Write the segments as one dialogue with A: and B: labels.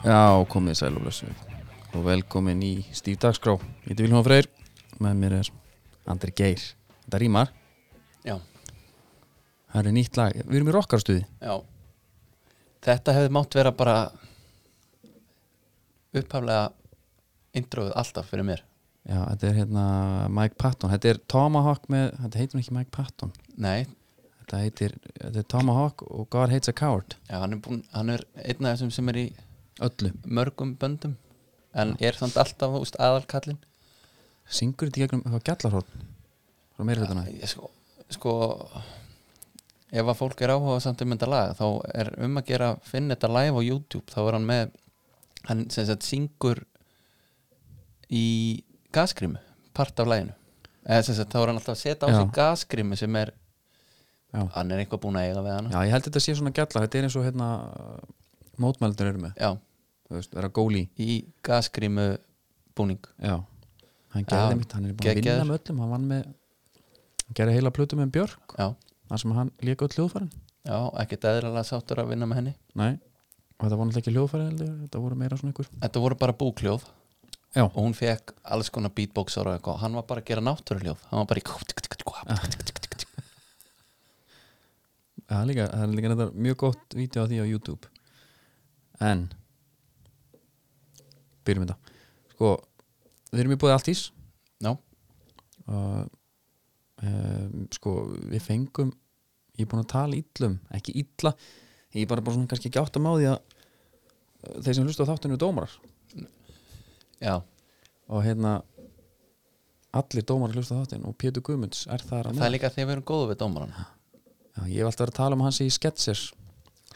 A: Já, komið sæl og blessu og velkomin í Stíf Dagskrá Ég heiti Vilhjóðan Freyr, með mér er Andri Geir, þetta rýmar
B: Já,
A: það er nýtt lag, við erum í rockarstuði
B: já Þetta hefði mátt vera bara upphaflega introið alltaf fyrir mér
A: Já, þetta er hérna Mike Patton, þetta er Tomahawk með þetta heitir nú ekki Mike Patton
B: Nei,
A: þetta heitir, þetta er Tomahawk og God Hates a Coward,
B: já, hann, er búin, hann er einn af þessum sem er í
A: öllu
B: mörgum böndum en er samt alltaf úst, aðalkallin
A: Syngur þetta í gegnum eitthvað gjallarhótt frá meira hlutana
B: Ég sko, sko ef að fólk er áhuga samt um þetta lag þá er um að gera að finna þetta live á YouTube þá er hann með hann sem sagt syngur í gasgrimu part af laginu eða sem sagt þá er hann alltaf að setja á
A: Já.
B: sig gasgrimu sem er
A: Já.
B: hann er eitthvað búin að eiga við hana
A: Já, ég held þetta sé svona gjallar, þetta er eins og hérna mótmældur eru með,
B: Já,
A: þú veist, vera góli
B: í gasgrimu búning
A: Já, hann
B: Já,
A: gerði mitt, hann er búin að vinna
B: geggjaður.
A: með öllum hann vann með, hann gerði heila plötu með Björk
B: já,
A: þar sem hann lék öll hljóðfærin
B: já, ekkert eðlilega sáttur að vinna með henni
A: Nei, og þetta voru náttúrulega ekki hljóðfæri heldur, þetta voru meira svona ykkur
B: þetta voru bara búkljóð
A: Já,
B: og hún fekk alls konar beatboxar og eitthvað hann var bara að gera náttúruljóð hann var bara í
A: það er líka, það er líka þetta mjög gott vídeo á því á YouTube En Byrjum þetta Sko, við erum í búið Altís
B: Já.
A: Og um, sko, við fengum Ég er búin að tala illum, ekki illa Ég er bara, bara svona kannski ekki átt að má því að uh, Þeir sem hlusta á þáttinu eru dómarar
B: já,
A: Og hérna Allir dómarar hlusta á þáttinu og Pétur Guðmunds er þar á
B: það er líka þegar við erum góðu við dómaran
A: Já, ég hef alltaf verið að tala um hans í sketsers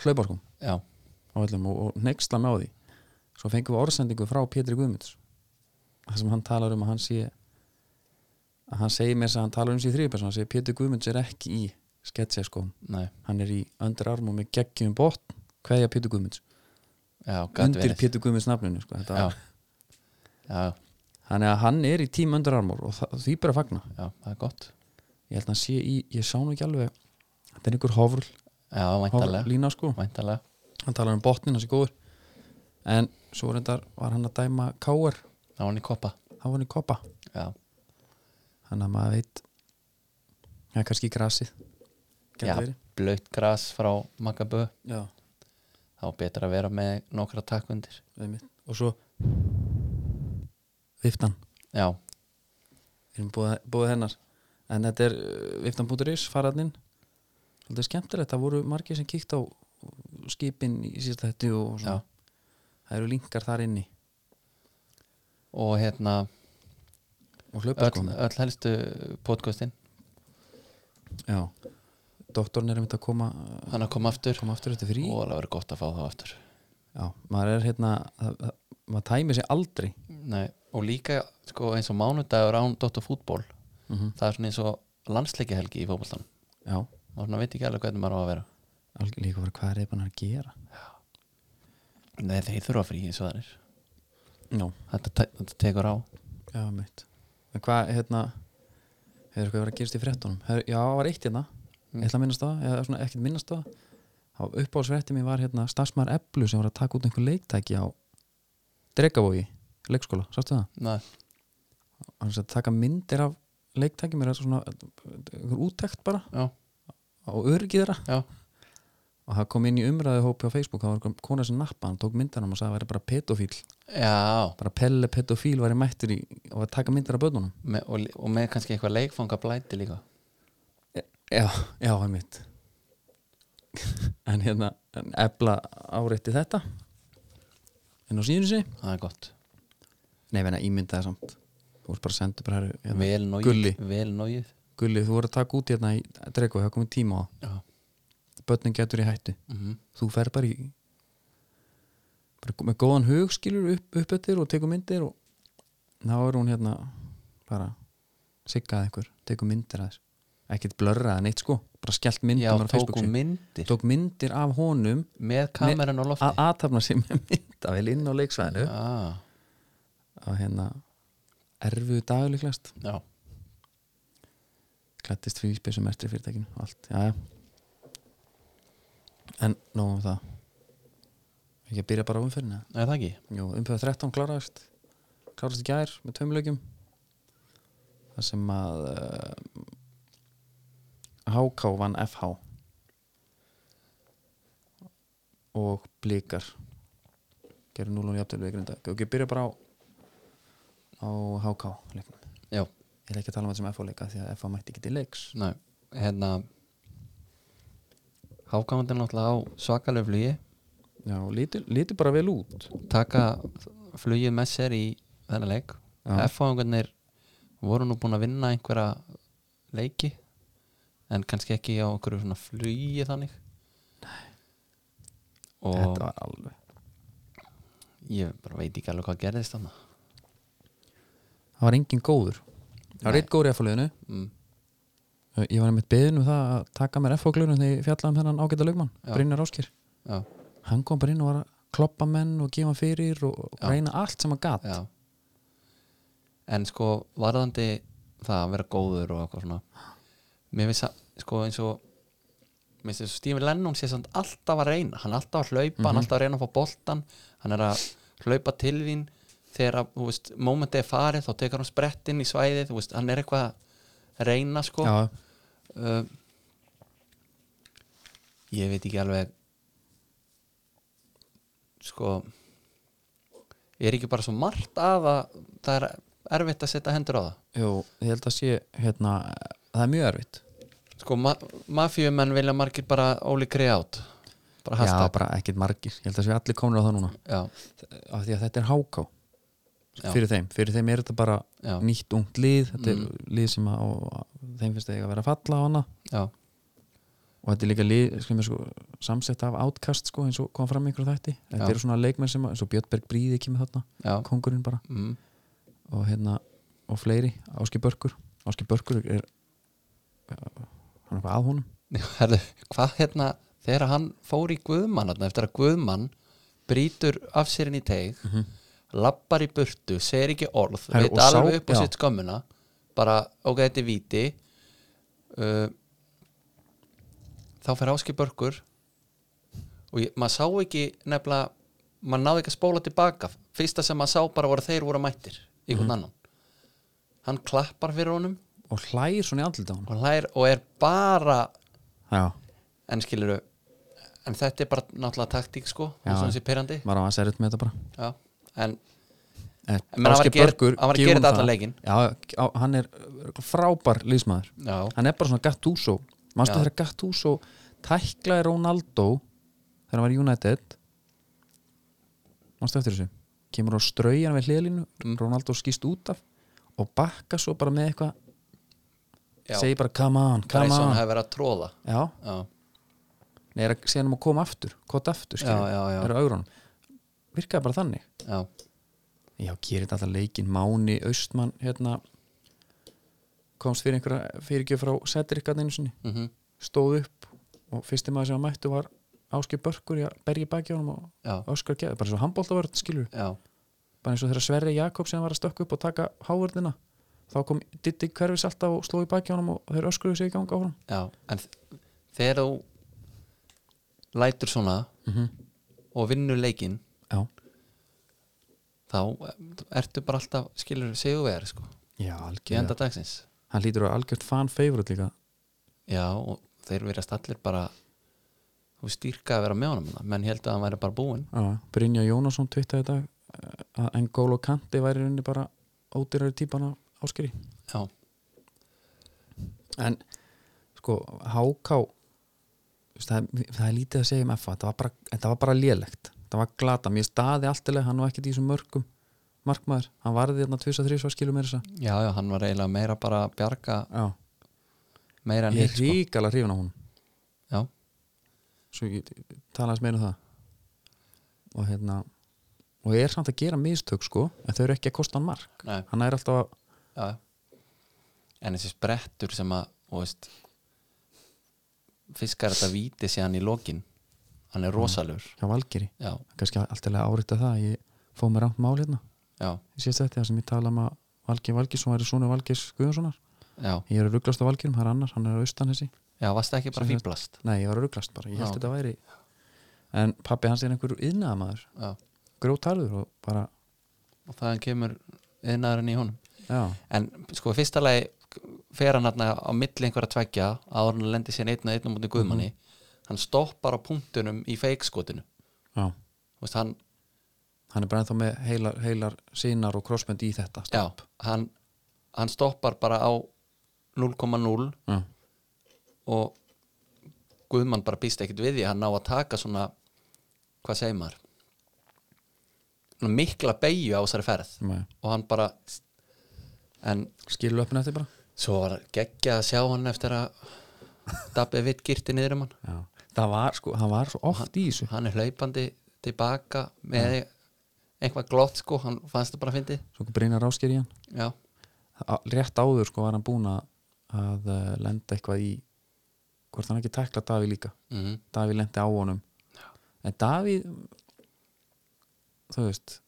A: hlauparkum
B: já,
A: á öllum og, og nexla með á því svo fengum við orðsendingu frá Pétri Guðmunds þar sem hann talar um að hann sé að hann segir mér þess að hann talar um sig í þrýjupers hann segir Pétri Guðmunds er ekki í sketsers sko,
B: nei,
A: hann er í öndirarm og með geggjum bótt, hverja Pétur Guðmunds
B: já, gæti
A: undir
B: verið
A: Pétur Guðmunds nafninu sko,
B: já,
A: þetta,
B: já,
A: hann, er, hann er í tím öndirarmur og það, því bara að fagna
B: já, það er gott
A: ég held að hann sé í, ég sá nú ekki alveg þetta er einhver hofrl,
B: já,
A: hofrl
B: væntalega,
A: lína sko
B: væntalega
A: hann talar um botnin hans er góður en svo reyndar var hann að dæma káar
B: þá var hann í koppa
A: þá var hann í koppa
B: já,
A: þannig að maður veit það er kannski í grasið Gæti
B: já
A: verið.
B: blöytt gras frá Magabö
A: já,
B: þá er betra að vera með nokkra takkundir
A: einmitt. og svo viftan,
B: já,
A: við erum búið, búið hennar en þetta er uh, viftan.is faradnin þetta er skemmtilegt, það voru margir sem kíkt á skipin í síðasta hættu og
B: já
A: svona. það eru linkar þar inni
B: og hérna
A: og sko. hlaupa
B: öll, öll helstu podcastin
A: já, doktorn er einmitt að koma
B: hann er að koma aftur
A: koma aftur þetta frí
B: og það verður gott að fá þá aftur
A: Já, maður er hérna það- það- maður tæmir sér aldrei
B: Nei, og líka sko, eins og mánudagur án Dóttu fútból það er svona eins og landsleikjahelgi í fótboltan
A: Já,
B: og svona veit ekki alveg hvernig maður á að vera
A: alveg líka bara hvað er það bara að gera
B: Nei, þeir þurfa frí eins og það er
A: Já,
B: þetta, te- þetta tekur á
A: já, mitt En hvað, hérna hefur eitthvað verið að gerast í frettunum Her, Já, það var eitt hérna,
B: Mm.
A: ég ætla að minnast á það eða svona ekkert minnast á það þá uppáhaldsfrétti mín var hérna starfsmæður Eblu sem var að taka út einhver leiktæki á Dregavogi, leikskóla, sástu það?
B: Nei,
A: Hann sem sagt taka myndir af leiktæki mér er svona einhver úttekt bara
B: já,
A: á öryggi þeirra
B: já,
A: og það kom inn í umræðu hópi á Facebook það var einhver kona sem nappa, hann tók myndanum og sagði að það væri bara pedofíl,
B: já
A: bara pelle pedofíl væri mættur í og að taka myndar af börnunum
B: Me, og, li- og með kannski eitthvað leikfanga blæti líka
A: já, já, það er mitt en hérna en ebla áreitti þetta en á síðan sig
B: það er gott
A: nei, venna, ímyndaði samt þú voru bara sendur bara heru, hérna,
B: vel nógið
A: Gulli.
B: vel nógið
A: gulli, þú voru að taka út hérna í dregu, það komið tíma á það.
B: já.
A: börnin getur í hættu,
B: Mm
A: þú fer bara í bara með góðan hug skilur upp, upp eftir og tekur myndir og þá er hún hérna bara siggað einhver, tekur myndir að þess ekkert blörrað neitt sko, bara skellt myndir
B: já
A: bara á Facebook
B: tóku
A: síðu.
B: myndir
A: tók myndir af honum
B: með kameran á lofti
A: að aðtapna sér með myndavel inn á leiksvæðinu
B: ah,
A: og hérna erfu dagleiklæst,
B: já,
A: klættist fyrir spesum mestri fyrirtækinu og allt, já já en nóg um það ekki að byrja bara á umferðina
B: er það ekki?
A: Jú, umferð 13 klárast klárast í gær með tveimleikjum þar sem að uh, HK vann FH og blikar gerur 0 og jafnvel við grinda og ég byrja bara á á HK leiknum
B: Já.
A: ég er ekki að tala um þetta sem FH leika því að FH mætti ekki til leiks
B: Næ, hérna Hákándin náttúrulega á svakalegu flugi
A: já, lítur lítur bara vel út
B: taka flugið með sér í þennan leik
A: Já.
B: F-fáingarnir voru nú búin að vinna einhverja leiki en kannski ekki á einhverju svona flugi þannig og
A: þetta var alveg
B: ég bara veit ekki alveg hvað gerðist þannig
A: það var engin góður það var
B: Nei.
A: eitt góður í FH liðinu
B: mm,
A: Ég var einmitt beðin um það að taka mér F-fóklunum þegar ég fjallaði um þennan ágæta lögmann
B: Já.
A: Brynjar Áskir,
B: já,
A: hann kom bara inn og var að kloppa menn og gefa fyrir og og
B: Já.
A: reyna allt sem hann gat
B: já en sko varðandi það að vera góður og eitthvað svona mér finnst að sko eins og mér finnst þess að Stephen Lennon sé samt alltaf að reyna hann er alltaf að hlaupa, hann er alltaf að reyna að fá boltan hann er að hlaupa til þín þegar að, þú veist, mómentið er farið þá tekur hann sprettinn í svæðið þú veist, hann er eitthvað að reyna sko
A: Já,
B: uh, ég veit ekki alveg sko er ekki bara svo margt af að það er erfitt að setja hendur á það
A: jú, ég held að sé hérna, það er mjög erfitt
B: sko ma mafíumenn vilja margir bara óli greið átt bara
A: Já,
B: hashtag
A: bara ekkert margir, ég held að sé allir komnir á það núna
B: já,
A: af því að þetta er háká
B: Já.
A: fyrir þeim, fyrir þeim er þetta bara
B: já, Mm.
A: nýtt ungt lið, þetta er lið sem að, og, þeim finnst þeir að vera að falla á hana
B: já,
A: og þetta er líka lið, skulum við sko, samsett af átkast sko, eins og kom fram í einhverju þætti þetta
B: Já.
A: eru svona leikmenn sem, að- eins og Björnberg Bríði kemur þarna
B: já
A: kongurinn bara
B: mm,
A: og hérna og fleiri, Áski Börkur Áski Börkur er hann er eitthvað að honum
B: herðu, hvað hérna þegar hann fór í Guðmann þarna, eftir að Guðmann brýtur af sér inn í teig lappar í burtu, segir ekki orð
A: Mhm. Herru,
B: veit
A: og sá-
B: alveg upp á
A: já.
B: sitt skömmuna bara, ok, þetta er víti uh, þá fer Áski Börkur og ég, maður sá ekki nefnilega, maður náði ekki að spóla tilbaka fyrsta sem maður sá bara voru þeir voru mættir í
A: Mhm.
B: hvern annan hann klappar fyrir honum
A: og hlægir svona í andlut á
B: og, hlær, og er bara
A: hann
B: en skilur en þetta er bara náttúrulega taktík sko
A: Já.
B: eins og þessi pyrrandi
A: maður á að segja þetta með þetta bara
B: já. en En
A: en,
B: menn, hann var
A: Ásgeir
B: að gera- hann var að
A: gefum
B: gera þetta
A: það.
B: allan leikinn.
A: já, á, hann er örugglega frábær lífsmaður
B: já,
A: hann er bara svona Gattuso manstu
B: Já.
A: þegar Gattuso tæklaði Ronaldo þegar hann var í United manstu eftir þessu kemur á straujan við hliðlínu
B: Mm.
A: Ronaldo skýst út af og bakka svo bara með eitthvað
B: já.
A: segi bara come on, come
B: Grayson
A: on
B: hefur verið að tróða
A: já,
B: já,
A: nei, er að segja hann um að koma aftur kota aftur, skilur,
B: Já, já, já.
A: er á augrunum virkaði bara þannig
B: já,
A: já, gerir þetta alltaf leikin, Máni, Austmann hérna komst fyrir einhverja fyrirgjöf frá Cedric að einu sinni,
B: mm
A: stóð upp og fyrsti maður sem að mættu var Áskei Börkur í að bergi baki á honum og
B: já,
A: Óskar Geður, bara svo handbóltavörð skilur,
B: já,
A: bara eins og þegar Sverri Jakobsen var að stökka upp og taka hávörðina þá kom Diddi Hverfis alltaf og sló í baki á honum og þeir öskruðu sig í ganga á honum
B: já en þ- þegar þú lætur svona og vinnur leikinn
A: já,
B: þá ertu bara alltaf skilur sigurvegar sko
A: já
B: í
A: algjörlega
B: enda dagsins
A: hann lítur á algjört fan favorite líka
B: já og þeir verið allir bara þú stýrka að vera með honum þarna. menn held að hann væri bara búinn
A: Já, Brynja Jónasson tvittaði í dag eh, að N'Golo Kanti væri í rauninni bara ódýrari típan af áskeri
B: já,
A: en sko HK þú veist, það, er- það er lítið að segja um FA þetta var bara, þetta var bara lélegt þetta var glata, mér staði alltilega hann var ekkert í þessum mörgum markmaður hann varði þarna 2-3 svo skilum er þess að
B: já, já, hann var eiginlega meira bara að bjarga
A: Já,
B: meira en
A: ég er
B: hitt sko.
A: ríkala hrifin á hún
B: já,
A: svo ég talaðis meina um það og hérna og er samt að gera mistök sko en þau eru ekki að kosta hann mark
B: nei
A: hann er alltaf að
B: já. já. en þessi sprettur sem að þú veist, fiskar þetta víti síðan í lokin hann er rosalur
A: hjá Valgeri
B: Mm. já,
A: kannski alltilega áreita það að ég fóð mér rámt mál hérna
B: já,
A: ég sést þetta sem ég tala um að Valgir Valgirsson væri svona Valgirs Guðjónssonar
B: já,
A: ég er að rugglast á Valgirum, það er annar, hann er austan þessi
B: já varst ekki bara
A: Sem sagt-
B: fýblast
A: nei, ég var að rugglast bara, ég held
B: Já.
A: þetta væri en pappi hans er einhver yðnaðamaður
B: já.
A: grótarður og bara
B: og þaðan kemur yðnaðurinn í honum
A: já,
B: en sko í fyrsta lagi fer hann hérna á milli einhverja tveggja áður en hann lendir sér einn að einn á múti guðmanni hann stoppar á punktunum í feikskotinu
A: já.
B: Þú veist, hann,
A: hann er bara ennþá með heilar, heilar sínar og krossbönd í þetta
B: já, hann, hann stoppar bara á 0,0
A: Já.
B: og Guðmann bara býst ekkert við því hann ná að taka svona hvað segir maður svona mikla beigju á þessari ferð
A: Nei.
B: og hann bara en
A: skilu löpun eftir bara
B: svo var geggjað að sjá hann eftir að Dabbi vitt girti niður um hann
A: já. það var sko, hann var svo oft í þessu
B: hann er hlaupandi tilbaka með einhvað glott sko, hann fannst það bara að fyndi
A: svo brýna ráskir í hann
B: já,
A: Á- rétt áður sko var hann búin að- að eh, lenda eitthvað í hvort hann ekki tekla Daví líka
B: mm
A: Daví lendi á honum en Daví þú veist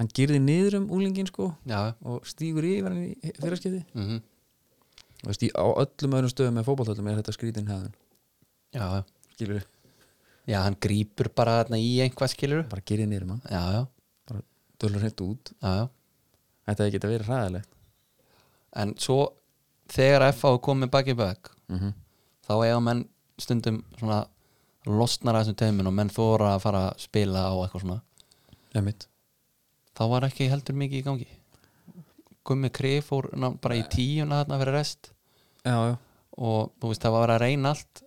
A: hann gyrði niður um úlingin sko
B: já
A: og stígur yfir hann í fyrirskipti
B: mm
A: þú veist, í, á öllum öðrum stöðum með fótballtöldum er þetta skrítin hefðun
B: já, já.
A: skilur
B: já, hann grípur bara þarna í einhvað skilur
A: bara gyrði niður um hann
B: já, já,
A: bara dölur hreint út
B: já, já
A: þetta hefði geta verið hræðilegt
B: en svo þegar FH er komið baki bak
A: mm -hmm.
B: þá eiga menn stundum svona losnar að þessum teimin og menn þóra að fara að spila á eitthvað svona
A: emitt
B: þá var ekki heldur mikið í gangi Gummi Krif fór ná, bara í tíuna þarna fyrir rest
A: já, já
B: og þú veist það var að reyna allt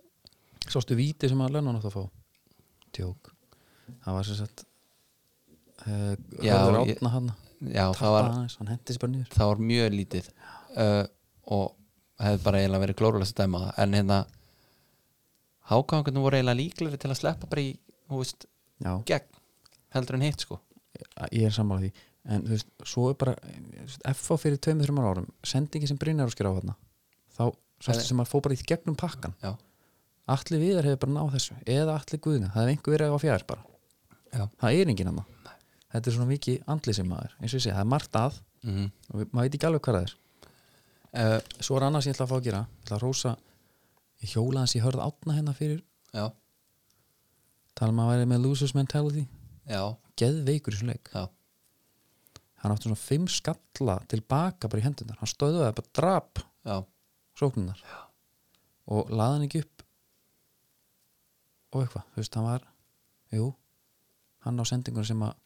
A: Sástu víti sem að Lennon átt að fá Tjók Það var sem sagt uh,
B: Já,
A: Hörður
B: ég-
A: átna hann
B: já það var,
A: aðeins, Hann hendi sér bara niður
B: það var mjög lítið uh, og hefði bara eiginlega verið glórulega að dæma það en hérna hákangunum voru eiginlega líklegri til að sleppa bara í, þú veist,
A: Já,
B: gegn heldur en hitt sko
A: ég er sammála því En þú veist, svo er bara F.A. fyrir tveimur þreymar árum Sendingi sem Brynjar og skýr á hann Þá sástu
B: Nei.
A: sem að fó bara í gegnum pakkan
B: já,
A: Allir viðar hefur bara náð þessu Eða allir guðina, það hefur einhver verið á fjær bara
B: já,
A: Það er enginn hann Þetta er svona mikið andlið sem maður Eins og ég segi, það er margt að
B: mm -hmm.
A: og við- Maður veit ekki alveg hvað það er
B: Uh,
A: Svo er annars ég ætla að fá að gera Ég ætla að rósa Ég hjóla hans ég hörð átna hérna fyrir
B: já,
A: Talum að væri með losers mentality
B: já,
A: Geðveikur í svona leik
B: já
A: Hann átti svona fimm skalla tilbaka bara í hendunar Hann stöðuði bara drap
B: já,
A: sóknunar Og laði hann ekki upp Og eitthvað Þú veist, hann var Jú, hann á sendingunum sem að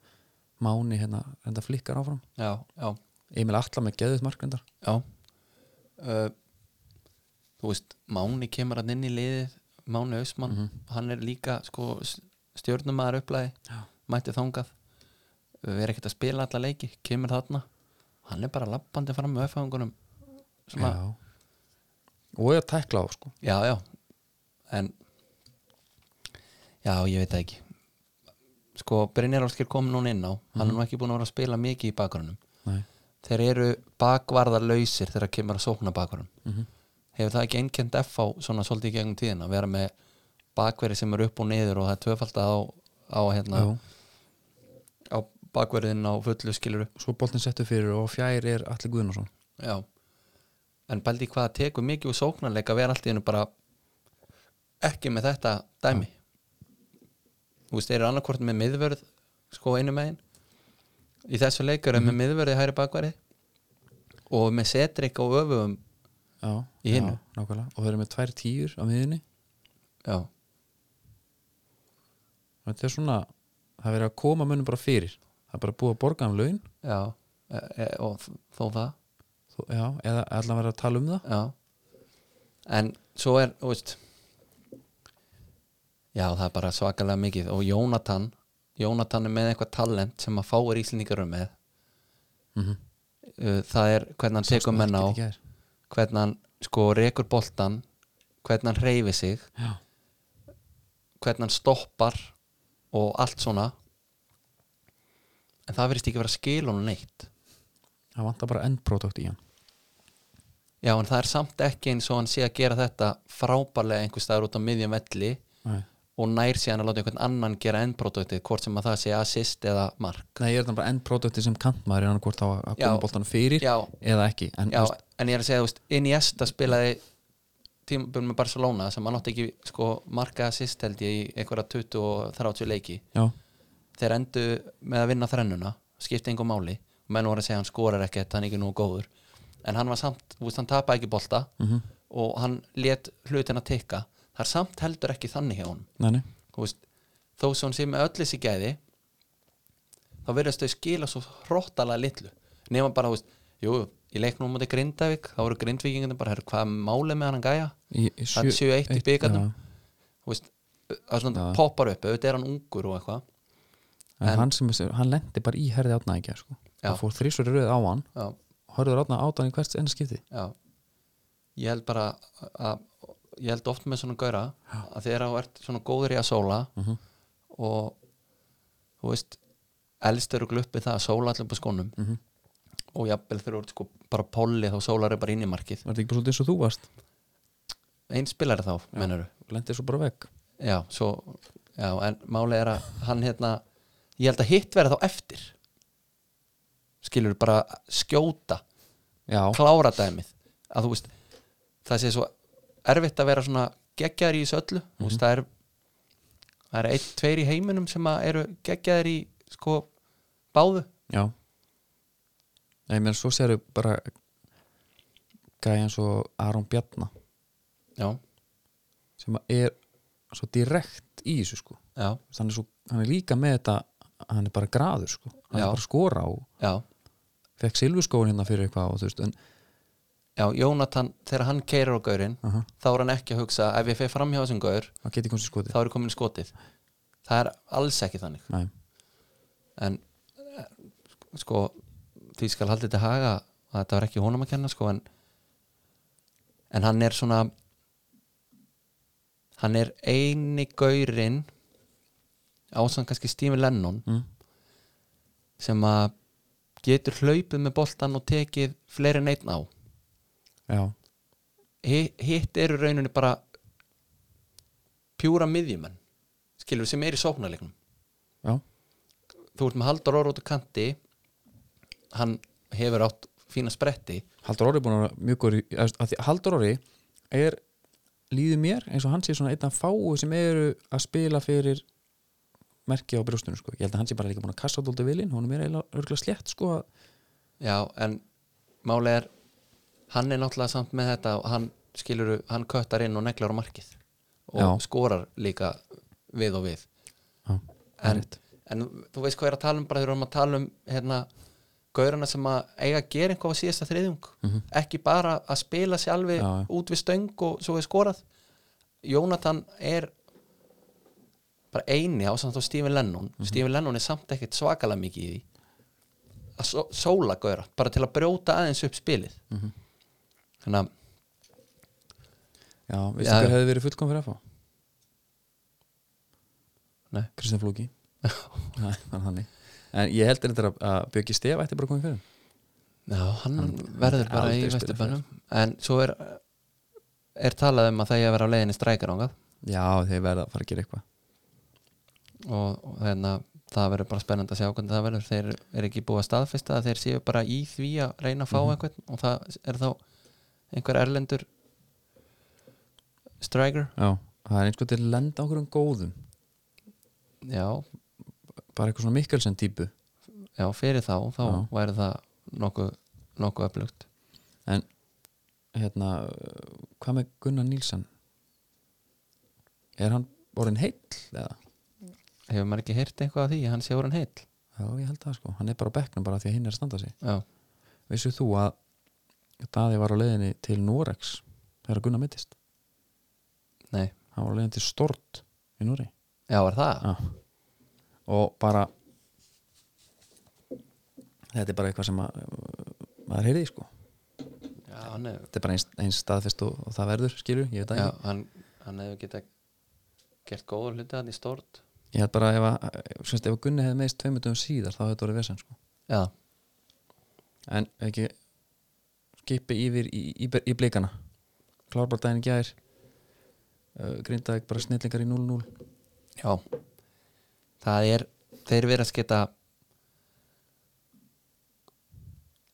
A: Máni hérna, hérna flikkar áfram
B: já, já,
A: Emil Atla með geðuð markvendar
B: já. Uh, þú veist Máni kemur hann inn í liðið Máni Ausmann, hann er líka sko, s- stjörnumæðar upplæði
A: Já.
B: mætti þangað við erum ekkert að spila alla leiki, kemur þarna hann er bara lappandi fram með öfðangunum svona,
A: Já Og ég að tækla á sko
B: já. já, en já, ég veit það ekki sko, Brynjar Áskir kom núna inn á hann er nú ekki búin að vera að spila mikið í bakgrunum
A: Nei
B: þeir eru bakvarðarlausir þegar kemur að sókna bakvarðan
A: mm
B: hefur það ekki einkend F á svona svolítið í gegnum tíðin að vera með bakverði sem eru upp og niður og það er tvöfald á, á, hérna,
A: Jú
B: á bakverðin á fullu skiluru
A: svo boltin settu fyrir og fjær er Alli Guðnarsson
B: Já. en bældi hvað það tekur mikið úr sóknarleika að vera allt í hennu bara ekki með þetta dæmi þú veist, þeir eru annarkvort með miðvörð sko einu megin í þessu leikur er með miðvörði hæri bakverði og með setrik og öfum
A: já,
B: Í
A: já,
B: hinu.
A: nákvæmlega. og þeir eru með tvær tíur á miðinni
B: já,
A: þetta er svona, það er verið að koma mönnum bara fyrir það er bara búið að borga um laun
B: já e, e, og þ- þó það
A: þó, já, eða allan verið að tala um það
B: Já En svo er, þú veist Já, það er bara svakalega mikið og Jónatan Jónatan er með eitthvað talent sem að fáir íslendingar um með
A: mm
B: Uh, það er hvernig hann tekur menn á hvernig hann sko rekur boltan hvernig hann hreyfi sig
A: já,
B: hvernig hann stoppar og allt svona en það verðist ekki vera skil honum neitt
A: það vantar bara endprodukt í hann
B: já en það er samt ekki eins og hann sé að gera þetta frábærlega einhvers staðar út á miðjum velli
A: nei,
B: og nær síðan að láta einhvern annan gera endproduktið hvort sem að það sé assist eða mark
A: nei ég er þannig bara endprodukti sem kantmaður er hann hvort á að að
B: Já.
A: koma boltanum fyrir
B: já,
A: eða ekki en,
B: já
A: þú veist,
B: en ég er að segja, þú veist, Iniesta spilaði tímabil með Barcelona sem hann átti ekki sko marka assist held ég í einhverja 20 og 30 leiki
A: já,
B: þeir endu með að vinna þrennuna skipti engum máli menn voru að segja hann skorar ekkert, hann er ekki nú góður en hann var samt, þú veist hann tapaði ekki bolta
A: mhm,
B: og hann let hlutina tikka það er samt heldur ekki þannig hjá honum
A: næni
B: þú veist, þó sem hann sé með öll þessi gæði þá verðast þau skila svo hróttalega litlu nema bara, þú veist, jú, í leiknum mútið Grindavík, þá voru Grindvíkingandi bara, herru, hvað er málið með hann að gæja
A: í, í
B: Það er 7-1 í bikarnum.
A: já.
B: þú veist, það er svona
A: Já.
B: poppar upp, auðvitað er hann ungur og eitthvað
A: en,
B: En-
A: hann, sem, hann lendi bara í herði átnaðingja sko.
B: Já.
A: það fór þrísur röð á hann
B: já,
A: horfður átna átan í hvert enn skipti
B: já ég held bara að ég held oft með svona gæra að þegar þú ert svona góður í að sóla
A: Mhm.
B: og þú veist, elst eru gluppi það að sóla allir på skónum
A: mm -hmm.
B: og jafnvel þegar þú ert sko bara polli þá sólar er bara inn í markið
A: var þetta ekki bara svolítið eins og þú varst
B: einn spilari þá, já. menuru
A: lendi svo bara vekk
B: já, svo, já, en máli er að hann hérna, ég held að hitt verða þá eftir skilur bara skjóta
A: já,
B: klára dæmið að þú veist, það sé svo erfitt að vera svona geggjaður í þessu öllu þú veist, það er það er einn, tveir í heiminum sem að eru geggjaður í sko báðu
A: já ég meðan svo sérðu bara gæja eins og Aron Bjarnar
B: já,
A: sem að er svo direkt í þessu sko
B: já,
A: hann er, svo, hann er líka með þetta hann er bara graður sko hann
B: Já.
A: er bara að skora og
B: já
A: fekk silfurskóin hérna fyrir eitthvað og þú veist en,
B: já, Jónatan, þegar hann keirir á gaurinn
A: uh -huh,
B: þá er hann ekki að hugsa ef ég fer framhjá þessum gaur
A: hann geti komst í skoti
B: þá er ég komin í skotið það er alls ekki þannig
A: Nei,
B: en eh, sko því skal haldið til haga að þetta var ekki honum að kenna sko en, en hann er svona hann er eini gaurinn ásand kannski Stephen Lennon
A: mm,
B: sem að getur hlaupið með boltan og tekið fleiri en einn á
A: já,
B: Hi- hitt eru rauninni bara pjúra miðjumenn skilur sem er í sóknarleiknum
A: já,
B: þú ert með Haldur Orr út á kanti hann hefur átt fína spretti
A: Haldur Orri er búin að vera mjög góri að því Haldur Orri er líður mér eins og hann sé svona einn af fáu sem eru að spila fyrir merki á brjóstunum sko ég held að hann sé bara líka búin að kassa dóldi vilin hún er mér eiginlega örgulega slétt sko að-
B: já en máli er hann er náttúrulega samt með þetta og hann skilur, hann köttar inn og neglar á markið og
A: Já.
B: skorar líka við og við
A: já, það er
B: en,
A: rétt.
B: en þú veist hvað ég er að tala um bara þegar við erum að tala um hérna gaurana sem að eiga að gera eitthvað á síðasta þriðjung ekki bara að spila sér alveg
A: Já, já.
B: út við stöng og svo er skorað Jónatan er bara eini á samt á Stephen Lennon Stephen Lennon er samt ekkert svakalega mikið í því að só- sóla gaura bara til að brjóta aðeins upp spilið
A: Mhm.
B: þannig að
A: já, veistu
B: Já.
A: hver hefði verið fullkom fyrir að fá
B: nei,
A: Kristján Flóki Nei, það er þannig en ég held þetta að, að Björki Stef ætti bara komið fyrir hann.
B: já, hann, verður bara í
A: aldrei spilað
B: vesturbænum en svo er er talað um að það ég að vera á leiðinni strækar ángað
A: já, þeir verða að fara að gera eitthvað
B: og, og þannig að það verður bara spennandi að sjá hvernig það verður þeir eru ekki búið að staðfesta að þeir séu bara í því að reyna að fá einhvern og það er þá einhver erlendur striker
A: já, það er einhvern til að lenda okkur um góðum
B: já,
A: bara eitthvað svona Mikkelsen típu
B: já, fyrir þá þá
A: Já.
B: væri það nokkuð nokkuð öflugt
A: en hérna uh, hvað með Gunnar Nílsson er hann orðin heill eða?
B: hefur maður ekki heyrt eitthvað af því, hann sé orðin heill
A: já ég held það sko, hann er bara á bekknum bara af því að hinn er að standa sig
B: já,
A: vissu þú að Daði var á leiðinni til Norex þegar Gunnar mittist,
B: nei,
A: hann var á leiðinni til Stort í Noregi
B: já, var það
A: Já. og bara þetta er bara eitthvað sem að, maður heyrði sko
B: já, hann hefur
A: þetta er bara eins, eins staðfest og, og það verður skilur, ég veit það
B: já,
A: ekki
B: hann, hann hefur getað gert góður hluti hann í stort
A: ég held bara ef að, semst, ef að Gunni hefði meðist tveimutum síðar þá hefði þetta orðið vesend sko
B: já,
A: en ekki skipi yfir í, í, í blikana klárbardaginn gær uh, grindaði bara snillingar í 0-0
B: Já Það er, þeir verðast geta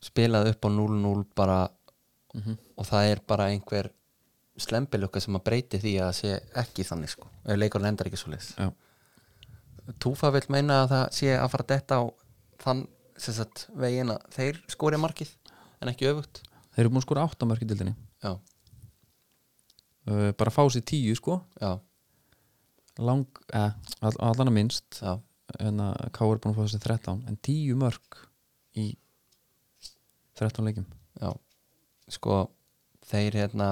B: spilað upp á 0-0 bara
A: Mhm.
B: og það er bara einhver slembilukka sem að breyti því að það sé ekki þannig sko eða leikur lendar ekki svo leis
A: Já.
B: Túfa vill meina að það sé að fara detta á þann sem sagt, veginn að þeir skori markið en ekki öfugt
A: Þeir eru búin að skora átta mörk í dildinni
B: já,
A: uh, bara fá sér tíu sko
B: já,
A: lang, eh, all, allan að minnst
B: já,
A: en að K er búin að fá sér 13 en tíu mörk í 13 leikjum
B: já sko þeir hérna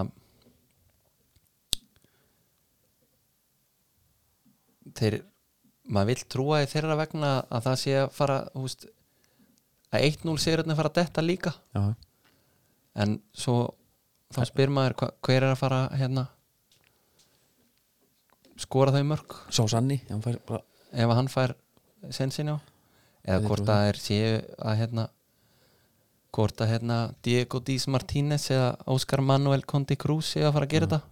B: þeir maður vill trúa í þeirra vegna að það sé að fara húst, að 1-0 sigurinn fara að detta líka
A: já,
B: en svo þá spyr maður hva, hver er að fara hérna skora þau mörg
A: sá Sanni ef hann fær bara,
B: ef að hann fær sensin á
A: Ég
B: eða hvort
A: trúi
B: að er séu að hérna hvort að hérna Diego Dís Martínez eða Óskar Manuel Conti Cruz séu að fara
A: Mhm.
B: að gera þetta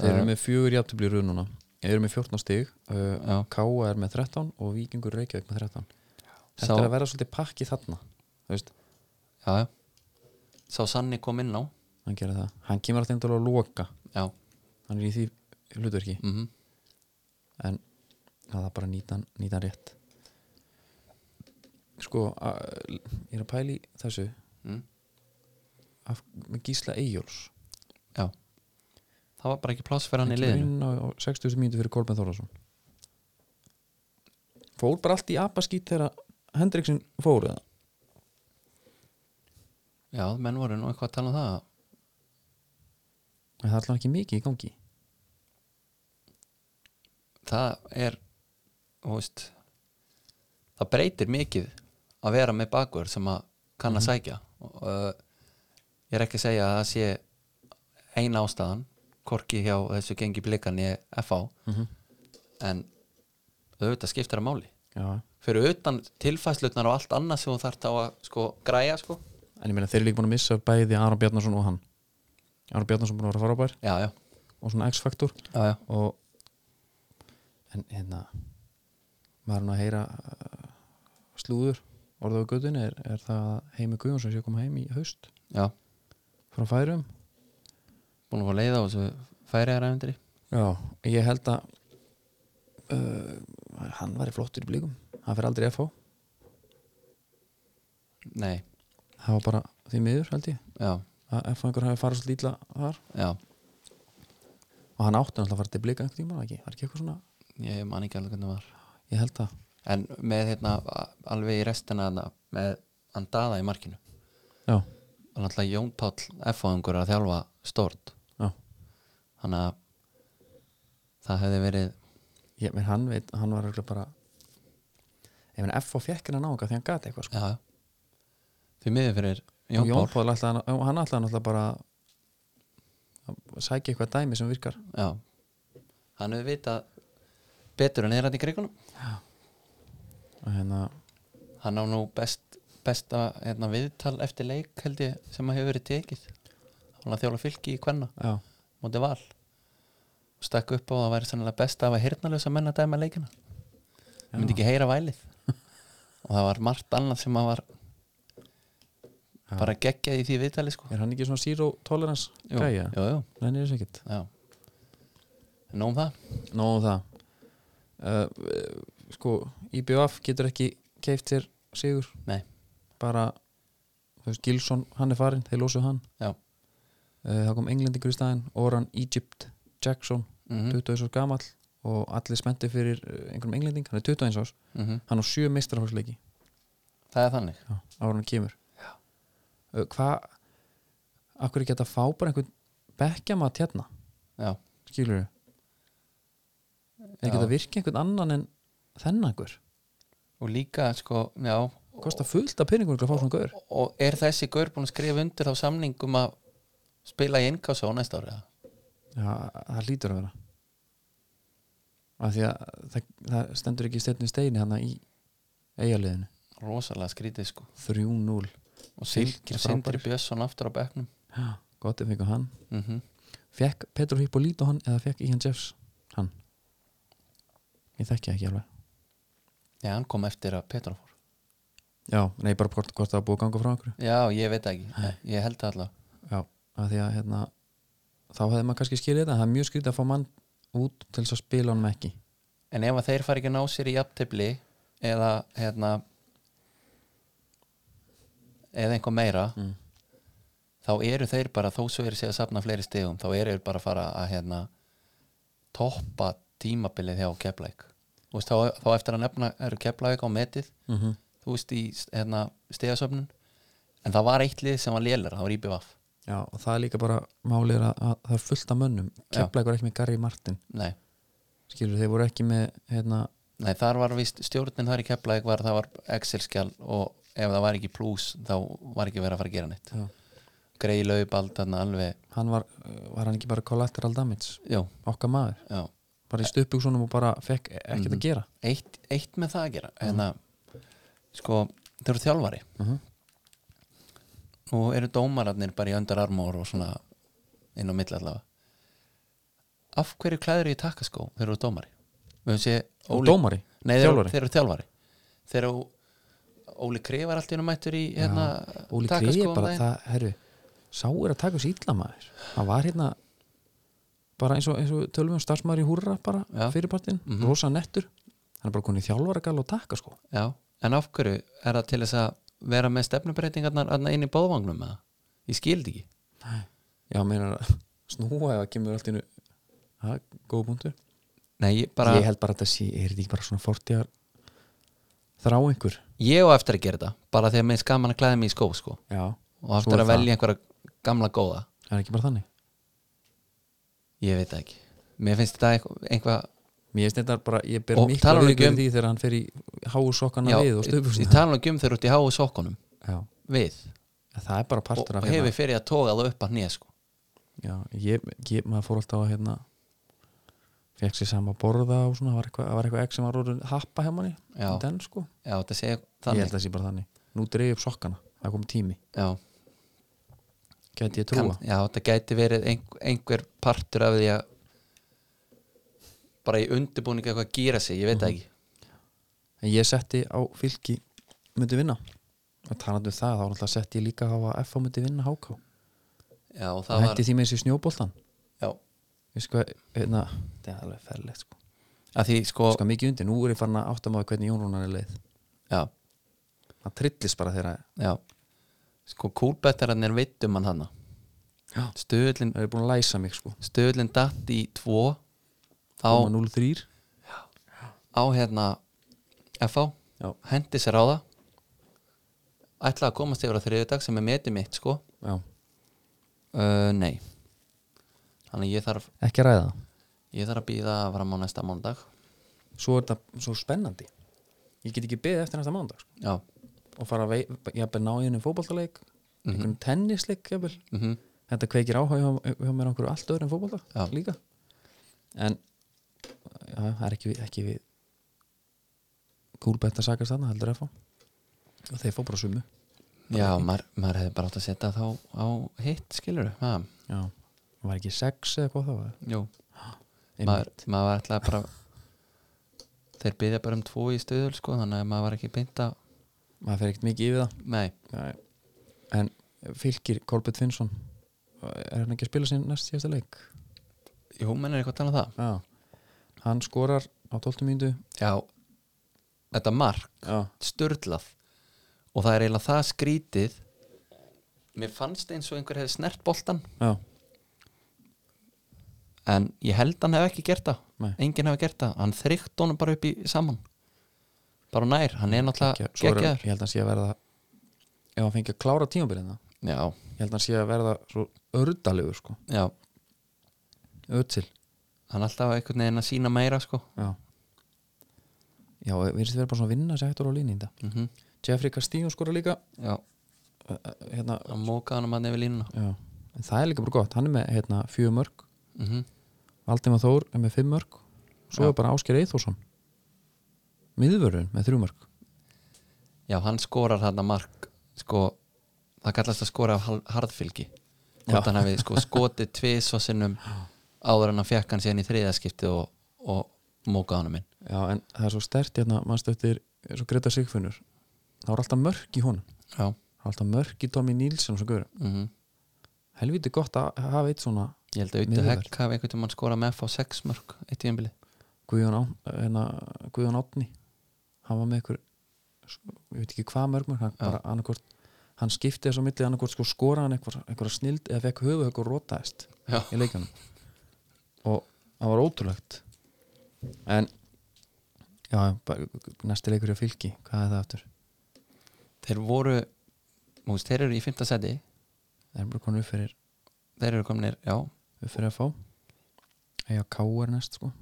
A: þeir
B: Eh.
A: eru með fjögur játtöfli röð núna þeir eru með 14 stig uh,
B: Já.
A: K er með 13 og Víkingur Reykjavík með 13 þetta
B: Sá-
A: er að vera svolítið pakki þarna þú veist,
B: já, já. sá Sanni kom inn á
A: hann gera það hann kemur alltaf til að loka
B: já,
A: hann er í því hlutverki
B: mm
A: en það er bara nýtan, nýtan rétt sko a, ég er að pæli þessu
B: Mm.
A: af, með Gísla Eyjóls
B: já það var bara ekki pláss fyrir hann í
A: kemur
B: liðinu
A: inn á á 60 mínútur fyrir Kolben Þórðarsson fór bara allt í apaskýt þegar Hendriksen fór eða
B: já, menn voru nú eitthvað að tala um það að
A: en það er alltaf ekki mikið í gangi
B: það er þú veist, það breytir mikið að vera með bakur sem að kann að sækja og uh, ég er ekki að segja að það sé eina ástæðan hvorki hjá þessu gengi blikan í FH en auðvitað skiptir að máli
A: Já.
B: fyrir utan tilfæslutnar og allt annað sem þú þarf þá að sko græja sko
A: en ég meina þeir eru líka búin að missa bæði Aron Bjarnason og hann Aron Bjarnason búin að vera farabær
B: já, já,
A: og svona X-faktor
B: já, já.
A: og en hérna maður er nú að heyra uh, slúður orðað á göttunni er, er það að Heimi Guðjónsson sé að koma heim í haust
B: já.
A: frá færum
B: búin að fá leið á þessu færiðaræfendri
A: já, ég held að uh, hann væri flottur í blíkum hann fer aldrei FH,
B: nei,
A: það var bara því miður held ég,
B: já,
A: að FH einhver hafi farið svolítið illa þar
B: já
A: og hann átti náttúrulega að fara til blíka einhvern tíma ekki, var ekki eitthvað svona,
B: ég man ekki alveg hvernig var
A: ég held að
B: en með hérna a- alveg í restina hana, með Andaða í markinu
A: já,
B: og náttúrulega Jón Páll F-fáðungur að þjálfa stort
A: já,
B: þannig að það hefði verið
A: ég menn hann veit hann var örugglega bara ég menn FH fekk hann að nága því hann gati eitthvað sko.
B: já, já. því miður fyrir Jón,
A: Jón
B: Páll
A: Pál ætlaði, hann- hann ætlaði náttúrulega bara að sækja eitthvað dæmi sem virkar
B: já. hann hefði vitað betur en er hann í krigunum
A: og hérna,
B: hann á nú best, besta hérna, viðtal eftir leik held ég sem að hefur verið tekið hann að þjála fylki í kvenna
A: já,
B: móti val og stakk upp á að það væri sannilega best að hafa hirnalösa menn að dæma leikina ég myndi ekki heyra vælið og það var margt annað sem að var
A: Já.
B: bara geggjað í því viðtali sko
A: er hann ekki svona zero tolerance
B: jú,
A: gæja?
B: jú, jú,
A: Nei, þess ekkert
B: já Nóum það?
A: Nó um það uh, eh, sko, IBF getur ekki keift sér sigur
B: Nei.
A: bara, þú veist, Gilson hann er farinn, þeir lósuðu hann
B: Já.
A: Eh, það kom Englendingur í staðinn, Oran Egypt Jackson,
B: Mm
A: 21 árs gamall og allir spennti fyrir eh, einhverjum englending, hann er 21 árs, hann á sjö meistarhálsleiki
B: mhm. Það er þannig
A: Já, ára hann kemur Uh, hvað akkur ekki hægt að fá bara einhvern bekkjamat hérna,
B: Já,
A: skilur við er ekki
B: Já.
A: hægt að virka einhvern annan en þennan einhver
B: og líka sko, já
A: kostar fullt af penningur að fá svona gaur
B: og er þessi gaur búin að skrifa undir á samningum að spila í innkása á næsta ári eða?
A: já, það lítur að vera af því að það, það stendur ekki stefni steini hann í eigaliðinu,
B: Rosalega skrítið sko
A: 3-0
B: og
A: Fylkir
B: Sindri, Sindri
A: frábærir.
B: Björnsson aftur á bekknum
A: Já, gott ef fengið hann
B: mm
A: fekk Petro Hippolito hann eða fekk Ian Jeffs hann ég þekki það ekki alveg
B: Já, hann kom eftir að Petra fór
A: já, nei bara hvort, hvort það var búið að ganga frá einhverju
B: Já, ég veit það ekki, ég held það allavega
A: já, af því að hérna þá hefði maður kannski skilið þetta það er mjög skrítið að fá mann út til þess að spila honum ekki
B: en ef að þeir fari ekki að ná sér í jafntefli eða hérna eða einhver meira
A: Mm.
B: þá eru þeir bara þó svo eru sér að safna fleiri stegum þá eru þeir bara að fara að hérna toppa tímabilið hjá Keflæk veist, þá, þá eftir að nefna eru Keflæk á metið
A: mm -hmm.
B: þú veist í hérna, stegasöfnun en það var eitt lið sem var lélar það var IBVF
A: Já, og það er líka bara málið er að, að það er fullt af mönnum
B: Já.
A: Keflæk var ekki með Gary Martin
B: nei,
A: skilur þeir voru ekki með hérna,
B: nei, þar var vist stjórnin þar í Keflæk var það var Excel-skjál og ef það var ekki plus þá var ekki verið að fara að gera neitt
A: Já.
B: greið laupald þarna alveg
A: hann var, uh, var hann ekki bara collateral damage
B: já,
A: okkar maður,
B: já.
A: bara í stöpugsunum og bara fekk e- ekkert
B: Mhm.
A: að gera
B: Eitt, eitt með það að gera en að sko, þeir eru þjálfari
A: Mhm.
B: og eru dómararnir bara í öndararmór og svona inn á milli allavega af hverju klæður í takkaskó þeir eru dómari Við höfum séð
A: og
B: Óli-
A: dómari,
B: Nei, þeir, eru-
A: Þjálfari?
B: þeir eru þjálfari Þeir eru Óli Krif var alltaf mættur í hérna,
A: Óli
B: takkaskó
A: Kriði
B: um
A: bara
B: daginn.
A: það, herru, sá er að taka þessi illa maður hann var hérna bara eins og, eins og tölum við um starfsmaður í húrra bara
B: Já.
A: fyrirpartin,
B: Mhm.
A: rosa nettur hann er bara konið þjálfaragall og taka sko
B: Já, en af hverju er það til þess að vera með stefnubreitingarnar þarna inn í bóðvangnum með það? Ég skildi ekki
A: já, meina snúa ef að kemur allt innu það er góð punktur
B: Nei, ég bara,
A: ég held bara að þetta sé, er þetta ekki bara svona fortíðar þrá einhver
B: ég á eftir að gera þetta bara því að mér skaman að klæða mig í skó sko
A: já,
B: og
A: Svo
B: eftir
A: er
B: að
A: það.
B: velja einhverja gamla góða
A: það er ekki bara þannig
B: Ég veit það ekki Mér finnst þetta eitthvað, eitthvað
A: mér finnst þetta bara, ég ber
B: Og
A: mikla
B: talar hann ekki
A: auðvitað
B: um-
A: því þegar hann fer í háu sokkana
B: Já,
A: við og
B: ég,
A: stöfum
B: ég tala nú ekki um þeir út í háu sokkunum
A: já,
B: við
A: en það er bara
B: og,
A: partur
B: og
A: af
B: hefur fyrir að toga það upp að hnið sko
A: Já, ég, ég, maður fór alltaf að hérna fekk sér saman að borða og svona, það var eitthvað, það var eitthvað ekk sem var orðin happa hjá manni,
B: Já,
A: den sko
B: já þetta segja
A: ég
B: þannig
A: held að sé bara þannig, nú dreif ég upp sokkana það kom tími,
B: Já,
A: gæti ég trúa
B: já, þetta gæti verið einhver, einhver partur af því að bara í undirbúning eitthvað að gýra sig, ég veit það ekki
A: en ég setti á fylki myndi vinna og talandi um það, þá alltaf setti ég líka á að FH myndi vinna HK,
B: Já, og
A: það
B: það var
A: hætti því með þessi snjóboltan
B: já,
A: við sko, hérna, það er alveg ferlegt sko,
B: að því sko,
A: sko mikið undir, nú er ég farin að áttamáði hvernig Jón Rúnar er leið
B: já,
A: það trillist bara þegar að-
B: já sko kúlbettarinn er vittum hann hanna
A: Já.
B: stöðlinn
A: það er búin að læsa mig sko
B: stöðlinn datt í tvo á,
A: 0-3
B: á hérna FH,
A: Já.
B: hendi sér á það ætla að komast yfir á þriðudag sem er metið mitt sko
A: Já.
B: uh, nei þannig að ég þarf
A: ekki að ræða það
B: Ég þarf að býða fram á næsta mándag
A: svo er þetta svo spennandi ég get ekki beðið eftir næsta mándag sko.
B: Já
A: og fara að vei- jafnvel ná í henni fótballtaleik
B: Mhm.
A: einhvern tennisleik jafnvel.
B: mm
A: þetta kveikir áhuga hjá, hjá mér á einhverju allt öðru en fótballta
B: Já.
A: líka en já, það er ekki, við- ekki við kúlbetta sakast þarna heldur að fá og þeir fá bara sumu
B: Já, maður, maður hefði bara átt að setja þá á hitt, skilur ha,
A: já. var ekki sex eða hvað það var
B: Jú,
A: Einmitt.
B: maður, maður var alltaf bara Þeir býðja bara um tvo í stöðul sko, þannig að maður var ekki beint að
A: maður fer ekkert mikið yfir það
B: Nei,
A: Nei. en fylgir Kolbjörn Finnsson er hann ekki að spila sinn næst síðasta leik
B: jú, menn er eitthvað að tala um það
A: Já, hann skorar á 12 mínútu
B: Já, þetta mark,
A: Já,
B: sturlað og það er eiginlega það skrítið Mér fannst eins og einhver hefði snert boltan
A: já,
B: en ég held hann hef ekki gert það
A: Nei.
B: enginn hef gert það, hann þrygt honum bara upp í saman bara á nær, hann er
A: geggja,
B: náttúrulega
A: svo er,
B: geggjaður
A: ég held að hann sé að verða ef hann fengi að klára tímabilið það
B: já,
A: ég held að hann sé að verða svo ördalegur sko,
B: já,
A: ötsil
B: hann er alltaf einhvern veginn að sína meira sko
A: Já, já við erum verið bara svona að vinna sér hættur á línu í þetta
B: mm
A: Jeffrey Castillo skorar líka
B: já,
A: uh, uh, hérna,
B: hann móka hann að nefnir línuna
A: já. en það er líka bara gott, hann er með hérna, fjögur mörg
B: mm
A: Valdimar Þór er með fimm mörg svo
B: Já.
A: er bara Ásker Eithórsson miðvörun með þrjú mörg
B: já, hann skorar hann mark sko, það kallast að skora af hal- harðfylgi
A: Já.
B: hvort hann hefði sko skotið tvið svo sinnum áður en hann fekk hann síðan í þriðaskipti og, og móka hann minn
A: Já, en það er svo stert hérna, mannstu eftir svo Greta Sigfinnur þá er alltaf mörk í honum
B: já,
A: það er alltaf mörk í Tommy Nílsson og svo guður
B: mm
A: helviti gott að hafa eitt svona
B: ég held að auðvitað
A: Miðjuverð.
B: hekk hafi einhvern tímann skorað með FH6 mörg eitt tíðanbili
A: Guðjón, á, hérna, Guðjón Átni hann var með ykkur ég veit ekki hvað mörg mörg hann,
B: Já.
A: bara, annarkvort, hann skipti þess á milli annarkvort sko skora hann einhver, einhver snild eða fekk höfu eitthvað rótaðist
B: Já.
A: í leikjanum og það var ótrúlegt en já, bara, næsti leikur hjá fylki hvað er það aftur?
B: þeir voru, þú veist, þeir eru í fymta seti
A: Það er bara konur upp fyrir,
B: þeir eru kominir, já,
A: upp fyrir að fá eiga káar næst sko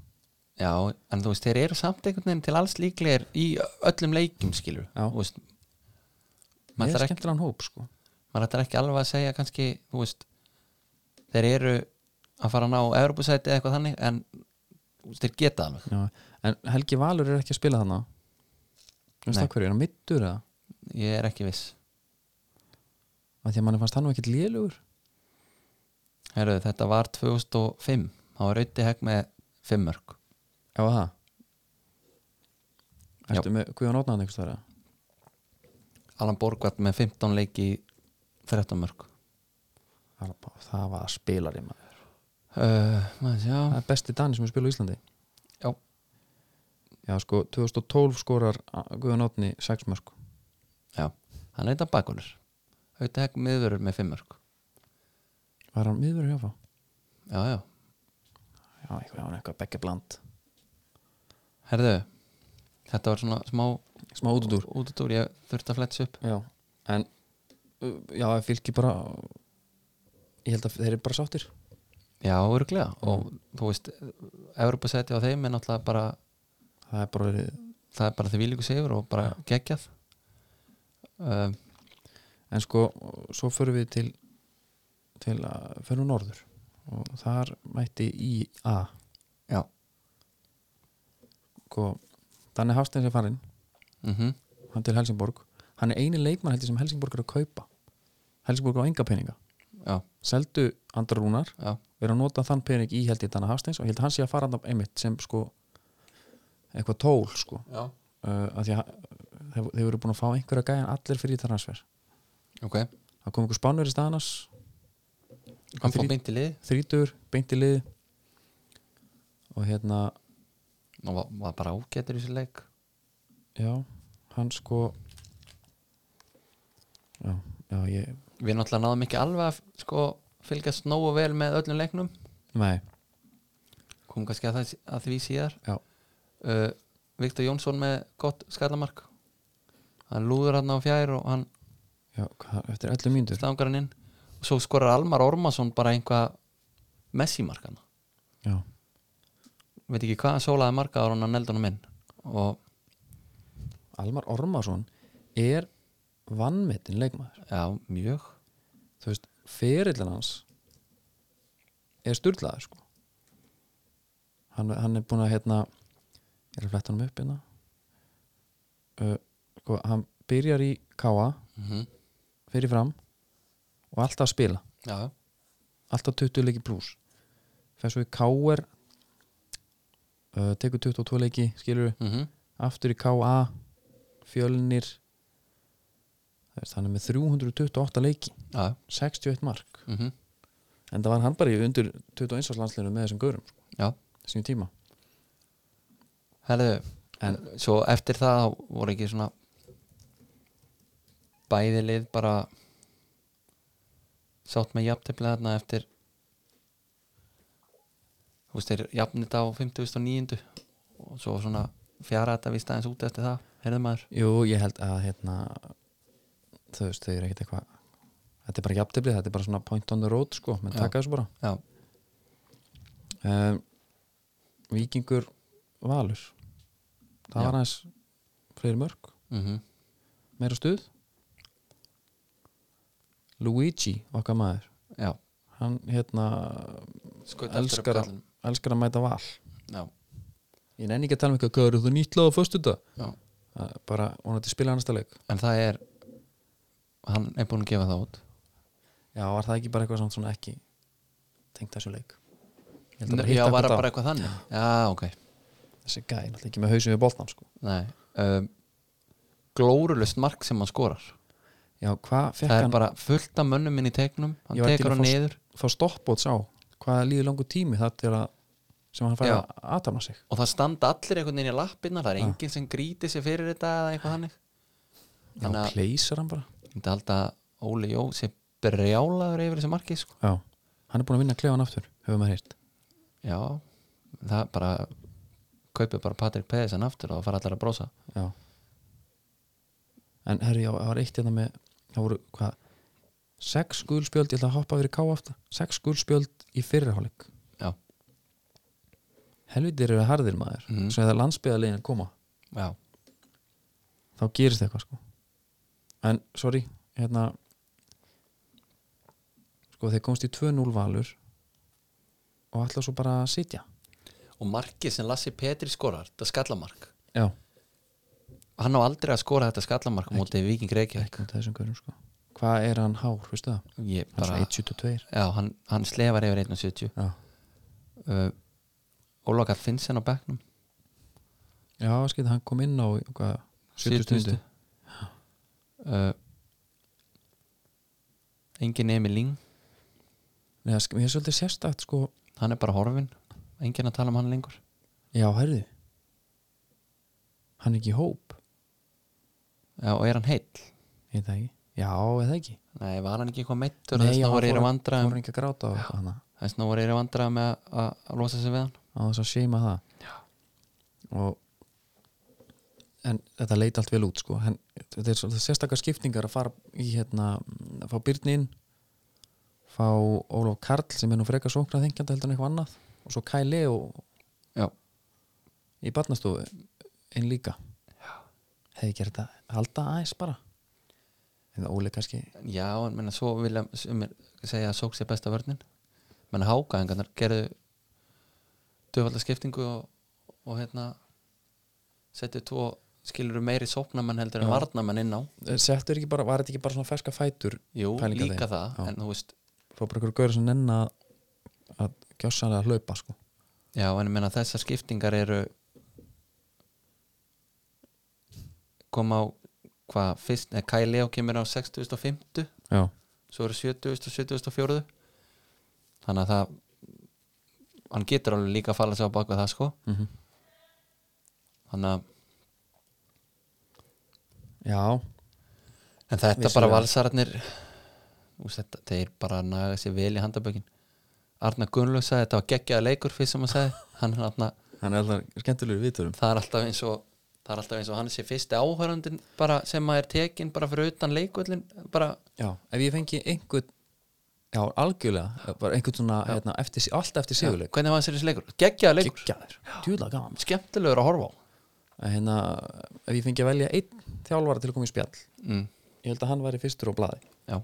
B: já en þú veist, þeir eru samt einhvern veginn til alls líklegir í öllum leikum skilur
A: Já.
B: þú veist
A: með
B: maður ætlar ekki,
A: skemmtilegan hóp sko
B: maður ætlar ekki alveg að segja kannski, þú veist þeir eru að fara að ná Evropasæti eða eitthvað þannig, en þú veist, þeir geta alveg,
A: já. en Helgi Valur er ekki að spila þarna veist
B: Nei.
A: það hverju, er hann middur eða?
B: ég er ekki viss
A: að því að manni fannst hann nú ekkert lélugur
B: Herru, þetta var 2005 þá var Rauti Hegg með 5 mörg
A: já það ertu með Guðjón Ótnaðan einhvers þar
B: Alan Borgvart með 15 leiki í 13 mörg
A: það var spilari maður
B: uh, maður sjá
A: það er besti Dani sem er spilað á Íslandi
B: Já.
A: já sko 2012 skorar Guðjón Ótni 6 mörg
B: Já, hann er þetta bakunur Rauti Hegg miðurur með 5 mörg
A: var hann miður hjáfá?
B: Já, já,
A: já eitthvað, hann er eitthvað bekkja bland
B: herðu þetta var svona smá
A: smá út úr
B: útudúr, ég þurfti að fletsa upp
A: já en uh, já ef fylgji bara ég held að þeir eru bara sáttir
B: Já, örglega og þú veist, Evropasæti á þeim er náttúrulega bara,
A: það er bara verið
B: það er bara því viljiku sigur og bara geggjað uh,
A: en sko, svo förum við til til að förum norður og þar mætti í A
B: Já.
A: sko, Danni Hafsteins er farinn
B: mm
A: hann til Helsingborg, hann er eini leikmann heldur sem Helsingborg er að kaupa Helsingborg á enga peninga,
B: Já,
A: seldu Andra Rúnar,
B: já,
A: er að nota þann pening í held ég Danni Hafsteins og ég held að hann sé að fara hann einmitt sem sko eitthvað tól sko
B: já
A: uh, að því að þeir, þeir voru búin að fá einhverja gæjan allir fyrir þetta transfer
B: Ok,
A: það kom einhver spánur í staðanas
B: hann fór
A: Þrý-
B: beint í lið
A: þrítur, beint í lið og hérna
B: og var, var bara ágættur í þessu leik
A: já, hann sko já, já, ég
B: við náttúrulega náðum ekki alveg að sko, fylgjast nógu vel með öllum leiknum
A: nei,
B: kom kannski að, það, að því síðar
A: Já.
B: uh, Viktor Jónsson með gott skallamark hann lúður hann á fjær og hann
A: já, hva, eftir 11 mínútur
B: stangar hann inn og svo skorar Almar Ormason bara einhvað Messi-markana
A: já,
B: veit ekki hvað hann sólaði marka ára hann eldur hann inn og
A: Almar Ormarsson er vannmetinn leikmaður
B: já, mjög
A: þú veist, ferillin hans er sturlaður sko hann, hann er búin að hérna ég er að fletta hann upp hérna uh, sko, hann byrjar í K.A.
B: mm
A: fyrir fram og alltaf að spila
B: já,
A: alltaf 20 leiki pluss fer svo í KR uh, tekur 22 leiki skilur
B: mm
A: aftur í KA fjölnir það er þannig með 328 leiki
B: já,
A: 61 mark
B: mm
A: en það var hann bara í undir 21 landslinu með þessum gaurum sko,
B: já.
A: þessum tíma
B: Herðu, en svo eftir það þá voru ekki svona bæði lið bara sátt með jafntefnilega þarna eftir þú veist þeir jafnit á 50.9 og svo svona fjara þetta vist aðeins út eftir það heyrðu maður
A: jú ég held að hérna þau veist þau eru ekkert eitthvað þetta er bara jafntöflið, þetta er bara svona point on the road sko, menn
B: Já.
A: taka þessu bara
B: já,
A: um, Víkingur Valur það
B: Já.
A: var aðeins fleiri mörg
B: mm
A: meira stuð Luigi, okkar maður
B: já
A: hann hérna
B: Skaut aftur upp
A: elskar, að-
B: kallinn.
A: elskar að mæta val
B: já,
A: ég nenni ekki að tala um eitthvað, hvað eru þú nýtt lág á föstu þetta
B: já.
A: bara, hún ætti að spila hann næsta leik
B: en það er hann er búin að gefa það út
A: já, var það ekki bara eitthvað samt svona ekki tengt þessu leik Ég held að bara
B: já,
A: hitta
B: var
A: hvort
B: hann
A: á.
B: bara eitthvað þannig já, ok
A: þessi gæði, náttúrulega ekki með hausum við boltan sko.
B: Nei, um, glórulust mark sem hann skorar
A: já, hvað fekk
B: það er
A: hann
B: bara fullt af mönnum inn í teiknum hann
A: Ég var til
B: tekur
A: að
B: hann
A: fá-
B: niður
A: fá stoppbóts á hvað hvað líður langur tími það til að sem hann fær
B: Já.
A: að atama sig
B: og það standa allir einhvern veginn í lappinna það er
A: Já.
B: enginn sem gríti sér fyrir þetta eða eitthvað þannig
A: Já,
B: Þannig að-
A: pleysar hann bara
B: þetta held að Óli Jó sé brjálaður yfir þessu marki sko.
A: Já, hann er búin að vinna klefan aftur hefur maður heyrt
B: já, það bara kaupið bara Patrik Pedersen aftur og það fara allar að brósa
A: Já En herri, já, það var eitt þetta með það voru, hvað sex gulspjöld, ég ætla að hoppa fyrir ká aftur sex gulspjöld í fyrriháleik
B: já,
A: helvitir eru harðir maður
B: Mhm.
A: svo þegar landsbyðarlegin koma
B: já,
A: þá gerist eitthvað sko en, sorry, hérna sko þeir komst í 2-0 valur og ætla svo bara að sitja
B: og markið sem Lassi Petri skorar þetta skallamark,
A: Já,
B: hann á aldrei að skora þetta skallamark á móti Viking Reykjavík
A: ekki út af þessum görum sko Hvað er hann hár, veistu það?
B: ég
A: Hann
B: bara,
A: er svo 1-72
B: já, hann, hann slefar yfir 1.70
A: Já,
B: uh, Óloka Finnsen á bekknum
A: já skil, hann kom inn á hvað, 70 stundu
B: uh, engin Emil Ling
A: Nei, það sk- mér er svolítið sérstakt sko
B: hann er bara horfin, engin að tala um hann lengur
A: Já, herði Hann er ekki í hóp
B: já, og er hann heill?
A: Ég það ekki Já, eða ekki
B: nei, var hann ekki eitthvað meittur
A: Nei,
B: þess
A: já,
B: að voru
A: hann
B: ég að
A: fór-
B: vandra
A: Þú voru ekki að gráta á hana
B: þess að voru ég að vandra með að- að að losa sig við hann
A: á þess að seima það og en þetta leit allt vel út sko en þetta er svolítið sérstakar skiptingar að fara í hérna, að fá Byrni inn fá Ólaf Karl sem er nú frekar sóknar þengjandi heldur en eitthvað annað og svo Kai Leo
B: já,
A: í barnastofu einn líka hefði gert að halda aðeins bara en Óli kannski
B: já en menna, svo vilja sumir segja að sók sér besta vörnin menna hákaðingarnar gerðu döfalda skiptingu og, og hérna settu tvo skilur meiri sóknamenn heldur en
A: Já.
B: varnamenn inn á
A: eh, settur ekki bara, var þetta ekki bara svona ferska fætur
B: jú,
A: Pælingar
B: líka
A: þeim.
B: það,
A: Já.
B: en þú veist
A: fá bara ykkur gauður sem nenn að að gjössanlega hlaupa sko
B: Já, en ég meina þessar skiptingar eru koma á hvað fyrst, eða Kai Leo kemur á 60.50
A: já,
B: svo eru 70.000 og 70.004 þannig að það hann getur alveg líka að falla sig á bak við það sko
A: mm
B: þannig að,
A: já
B: en þetta
A: Vissulega.
B: bara valsararnir úst, þetta, þeir bara naga sér vel í handabökin Arna Gunnlaug sagði þetta var geggjaða leikur fyrst sem hann sagði, hann er Arna
A: Hann er alltaf skemmtilegur viðtörum
B: það er alltaf eins og það er alltaf eins og hann sé fyrsti áhörandin bara sem maður er tekin bara fyrir utan leikvöllin bara,
A: Já, ef ég fengi einhvern Já, algjörlega, bara einhvern svona hérna, eftir, allt eftir sigurleik
B: hvernig var þessi leikur? geggjaða leikur,
A: Gekkjaður, djúðlega gaman maður.
B: skemmtilegur að horfa á
A: En hérna, ef ég fengi að velja einn þjálfara til að koma í spjall
B: mm,
A: Ég held að hann væri fyrstur á blaði
B: já,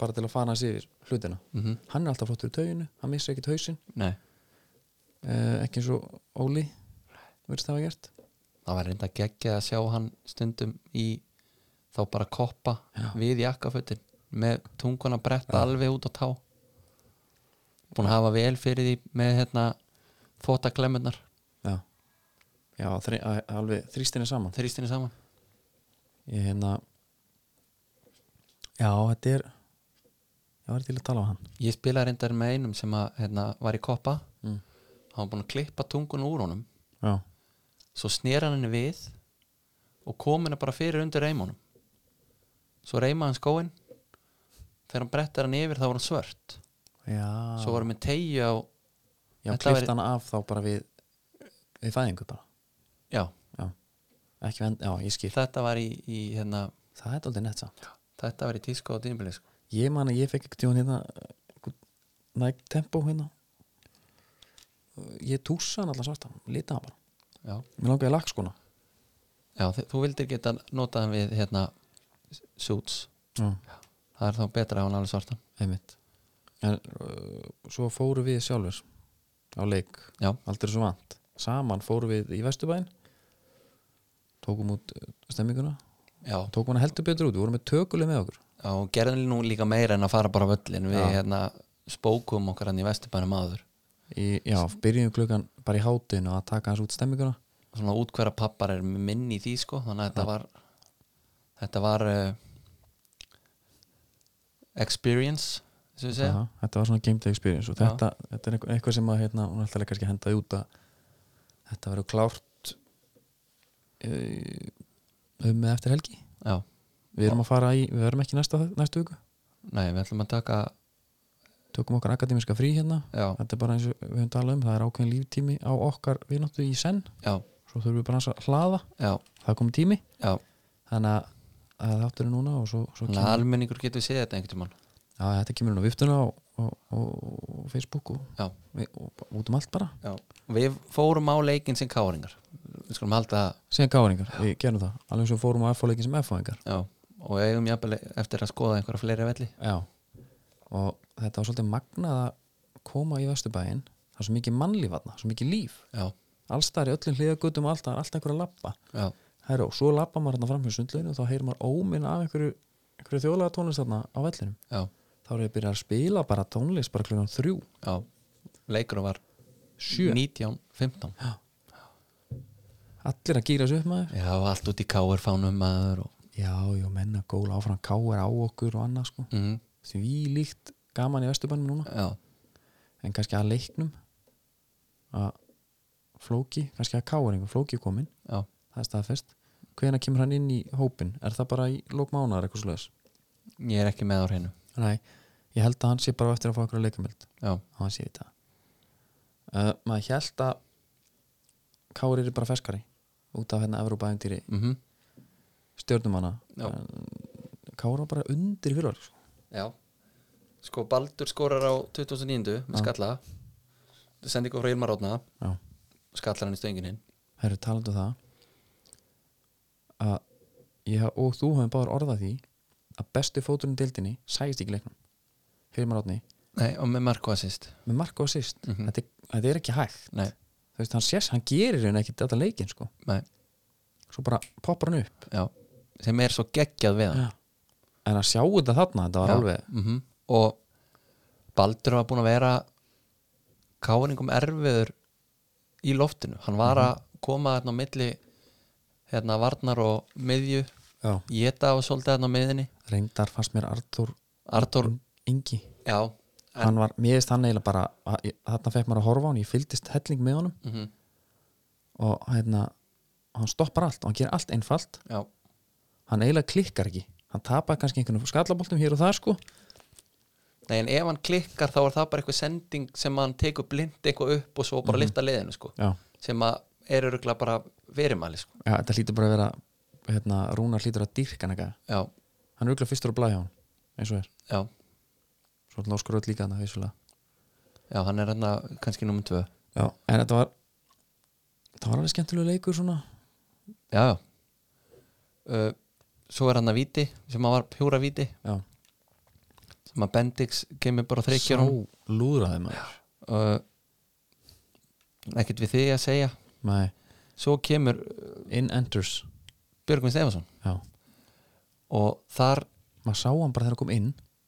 A: bara til að fara hans yfir hlutina
B: mhm,
A: Hann er alltaf flottur í tauginu, hann missa ekkert hausinn
B: nei
A: eh, ekki eins og Óli verðist það að gert
B: það var reynda geggjað að sjá hann stundum í þá bara koppa við jakkafötin með tunguna bretta alveg út á tá búin að hafa vel fyrir því með hérna þóttaklemmunar
A: Já, Já þri, að, alveg þrýstinni saman
B: þrýstinni saman
A: ég hérna já, þetta er ég var til að tala á hann
B: ég spilaði reyndar með einum sem að, hérna, var í koppa
A: Mm.
B: hann var búin að klippa tungun úr honum
A: já,
B: svo snera hann henni við og kom henni bara fyrir undir reimunum svo reima hann skóin þegar hann brettar hann yfir þá var hann svört
A: já,
B: svo var hann með tegju á
A: já
B: þetta
A: klift
B: væri-
A: hana af þá bara við við fæðingu bara
B: já,
A: já, ekki vend, já, ég skil
B: þetta var í, í hérna,
A: það er aldrei nett samt
B: þetta var í tísku á dýmbili sko.
A: ég man að ég fekk ekkert tíðan hérna einhvern Nike Tempo hérna ég tússa hann allan svartan lita hann bara,
B: já,
A: mér langaði að lagskona
B: já þi- þú vildir geta notað hann við hérna, suits
A: já,
B: það er þá betra að hann alveg svartan
A: einmitt en uh, svo fóru við sjálfur á leik
B: já,
A: aldrei svo vant saman fórum við í Vesturbæn tókum út uh, stemminguna
B: já,
A: tókum hana heldur betur út, við vorum með tökuleg með okkur
B: já og gerðin nú líka meira en að fara bara á völlin við
A: Já.
B: hérna, spókum okkar hann í vesturbænum áður
A: í, já, byrjum klukkan bara í hátinn og að taka hans út stemminguna
B: svona útkværa pappar er minn í því sko þannig að þetta var eh, þetta var uh, experience sem við segja
A: Aha, þetta var svona game day experience og
B: Já.
A: þetta, þetta er eitthvað- eitthvað sem að hérna, hún er alltaf kannski hendaði út að þetta verður klárt eh, um eða eftir helgi
B: já,
A: við erum að fara í, við verum ekki næsta, næstu viku
B: nei, við ætlum að taka
A: tökum okkar akademiska frí hérna
B: já,
A: þetta er bara eins og við höfum talað um það er ákveðin líftími á okkar vináttu í senn
B: já,
A: svo þurfum við bara aðeins að hlaða,
B: já,
A: það kom tími
B: já
A: þannig að það er þátturinn núna og svo, svo
B: þannig að almenningur getur séð þetta einhvern tímann
A: Já, þetta kemur inn á viftuna og, og, og, og Facebook og,
B: Já.
A: og, og út um allt bara
B: já, við fórum á leikinn sem káringar við skulum halda það
A: sem gáringar, við gerum það alveg svo fórum á F-leikin sem F-leikingar
B: já, og eigum jafnvel eftir að skoða einhverja fleiri velli
A: Já, og þetta var svolítið magnað að koma í Vesturbæinn það er svo mikið mannlíf aðna, svo mikið líf
B: já,
A: allstar í öllum hliðagutum og alltaf, alltaf einhverja lappa
B: já,
A: Herra, og svo lappa maður þarna fram hjá sundleginu og þá heyrir maður óminn af einhverju, einhverju þjóðlega tónlist þarna á vellinum
B: já,
A: þá er ég að byrja að spila bara tónlist bara klukkan þrjú,
B: já leikur var
A: sjö
B: 19, 15
A: allir að gýra sig upp maður
B: já, allt út í káir fánum maður og,
A: Já, já, menna góla áfram káir á okkur og annað sko
B: mm,
A: því líkt gaman í Vesturbænum núna
B: já,
A: en kannski að leiknum að flóki, kannski að káringu flóki er kominn,
B: já,
A: það er staðfest hvenær kemur hann inn í hópin, er það bara í lókmánaðar eitthvað slags?
B: ég er ekki með á hreinu
A: Nei, ég held að hann sé bara eftir að fá okkur að leikamöld
B: já,
A: og hann sé þetta uh, maður held að kári er bara ferskari út af hérna Evrópa-æfndýri
B: mhm
A: stjörnum hana
B: Já.
A: kári var bara undir fyrir sko.
B: Já Sko Baldur skorar á 2009 með skalla sendi ykkur frá Ilmar Rótna
A: já
B: skallar hann í stöngininn
A: Herru, talandi um það að ég hef- og þú hefum báður orðað því að besti fóturinn í deildinni sæðist ekki í leiknum Hilmar Átni,
B: Nei, og með Marko assist
A: með marka og sýst
B: Mhm.
A: þetta, er- þetta er ekki hægt
B: Nei,
A: þú veist, hann sést, hann gerir henni ekki þetta leikinn sko.
B: nei,
A: svo bara poppar hann upp
B: já sem er svo geggjað við hann
A: ja. en að sjá þetta þarna, þetta var
B: Já.
A: alveg
B: Mhm. Og Baldur var búin að vera káringum erfiður í loftinu hann var að koma þarna á milli hérna varnar og miðju
A: já.
B: geta og svolítið þarna á miðinni
A: reyndar fannst mér Artur
B: Artur,
A: Ingi
B: já en,
A: hann var, mér veist hann eiginlega bara að, ég- þarna fekk maður að horfa á hann, ég fylgdist helling með honum
B: mm
A: og hérna, hann stoppar allt og hann gerir allt einfalt
B: já,
A: hann eiginlega klikkar ekki hann tapar kannski einhvern skallaboltum hér og það sko
B: Nei, en ef hann klikkar þá er það bara eitthvað sending sem hann tekur blind eitthvað upp og svo bara lyfta liðinu sko
A: já,
B: sem að eru öruglega bara verimæli sko
A: já þetta hlýtur bara að vera hérna, Rúnar hlýtur að dýrka hann eitthvað
B: Já,
A: hann er auðvitað fyrstur að blæja hann eins og er,
B: já,
A: svo hann áskur öll líka hann vissulega
B: já, hann er hann kannski nummer tvö
A: já, en þetta var það var alveg skemmtilegu leikur svona
B: Já, já uh, Svo er hann að viti sem að var pjúra viti
A: já,
B: sem að Bendix kemur bara þreikjur
A: sá lúðraði maður
B: uh, Ekkert við þig að segja
A: Nei,
B: Svo kemur uh,
A: in enters
B: Björgvin Stefansson
A: já,
B: og þar
A: maður sá hann bara þegar hann kom inn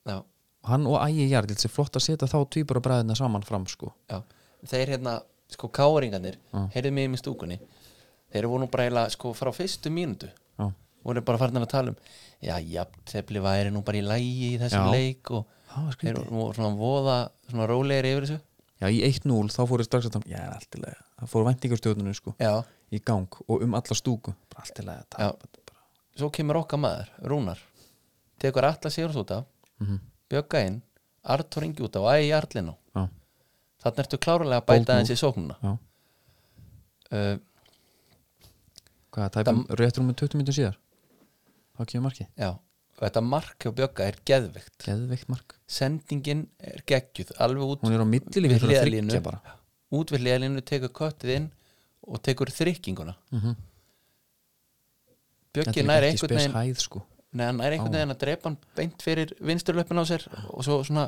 B: já,
A: og hann og ægi jarð, þetta er flott að setja þá tvíbara bræðina saman fram sko
B: Já, þeir hérna, sko káringarnir
A: Já.
B: heyrðu mig um í stúkunni þeir voru nú bara eiginlega, sko, frá fyrstu mínútu
A: já,
B: voru bara farin að tala um já, jafntefli væri nú bara í lægi í þessum
A: Já.
B: leik og
A: það var
B: þeir
A: skrítið
B: voru svona voða, svona rólegir yfir þessu
A: já, í 1-0 þá fór ég strax að það já, allt í lagi, það fór væntingarstjóðunum sko
B: Já,
A: í gang og um alla stúku bara allt í lagi að
B: Já.
A: tapa þetta bara.
B: svo kemur okkar maður, Rúnar tekur alla sigur út af
A: Mhm.
B: bjögga inn, Artur Ingi út af og ægi Arlinu,
A: Já,
B: þannig ertu klárlega að
A: Bold
B: bæta aðeins í sóknuna
A: já.
B: uh,
A: Hvað, tæpum, rétt rúmum 20 minnum síðar þá kemur markið,
B: Já, og þetta mark hjá bjögga er geðveikt
A: geðveikt mark
B: sendingin er geggjuð, alveg út
A: hún er á millilífi
B: Við
A: fyrir að
B: hliðarlínu.
A: þryggja bara
B: út við hliðalínu, tekur köttið inn og tekur þrykkinguna
A: mm -hmm.
B: Bjöggi nær einhvern
A: spes
B: veginn
A: hæð sko
B: Nei, hann nær einhvern veginn að drepa hann beint fyrir vinsturlöpun á sér og svo svona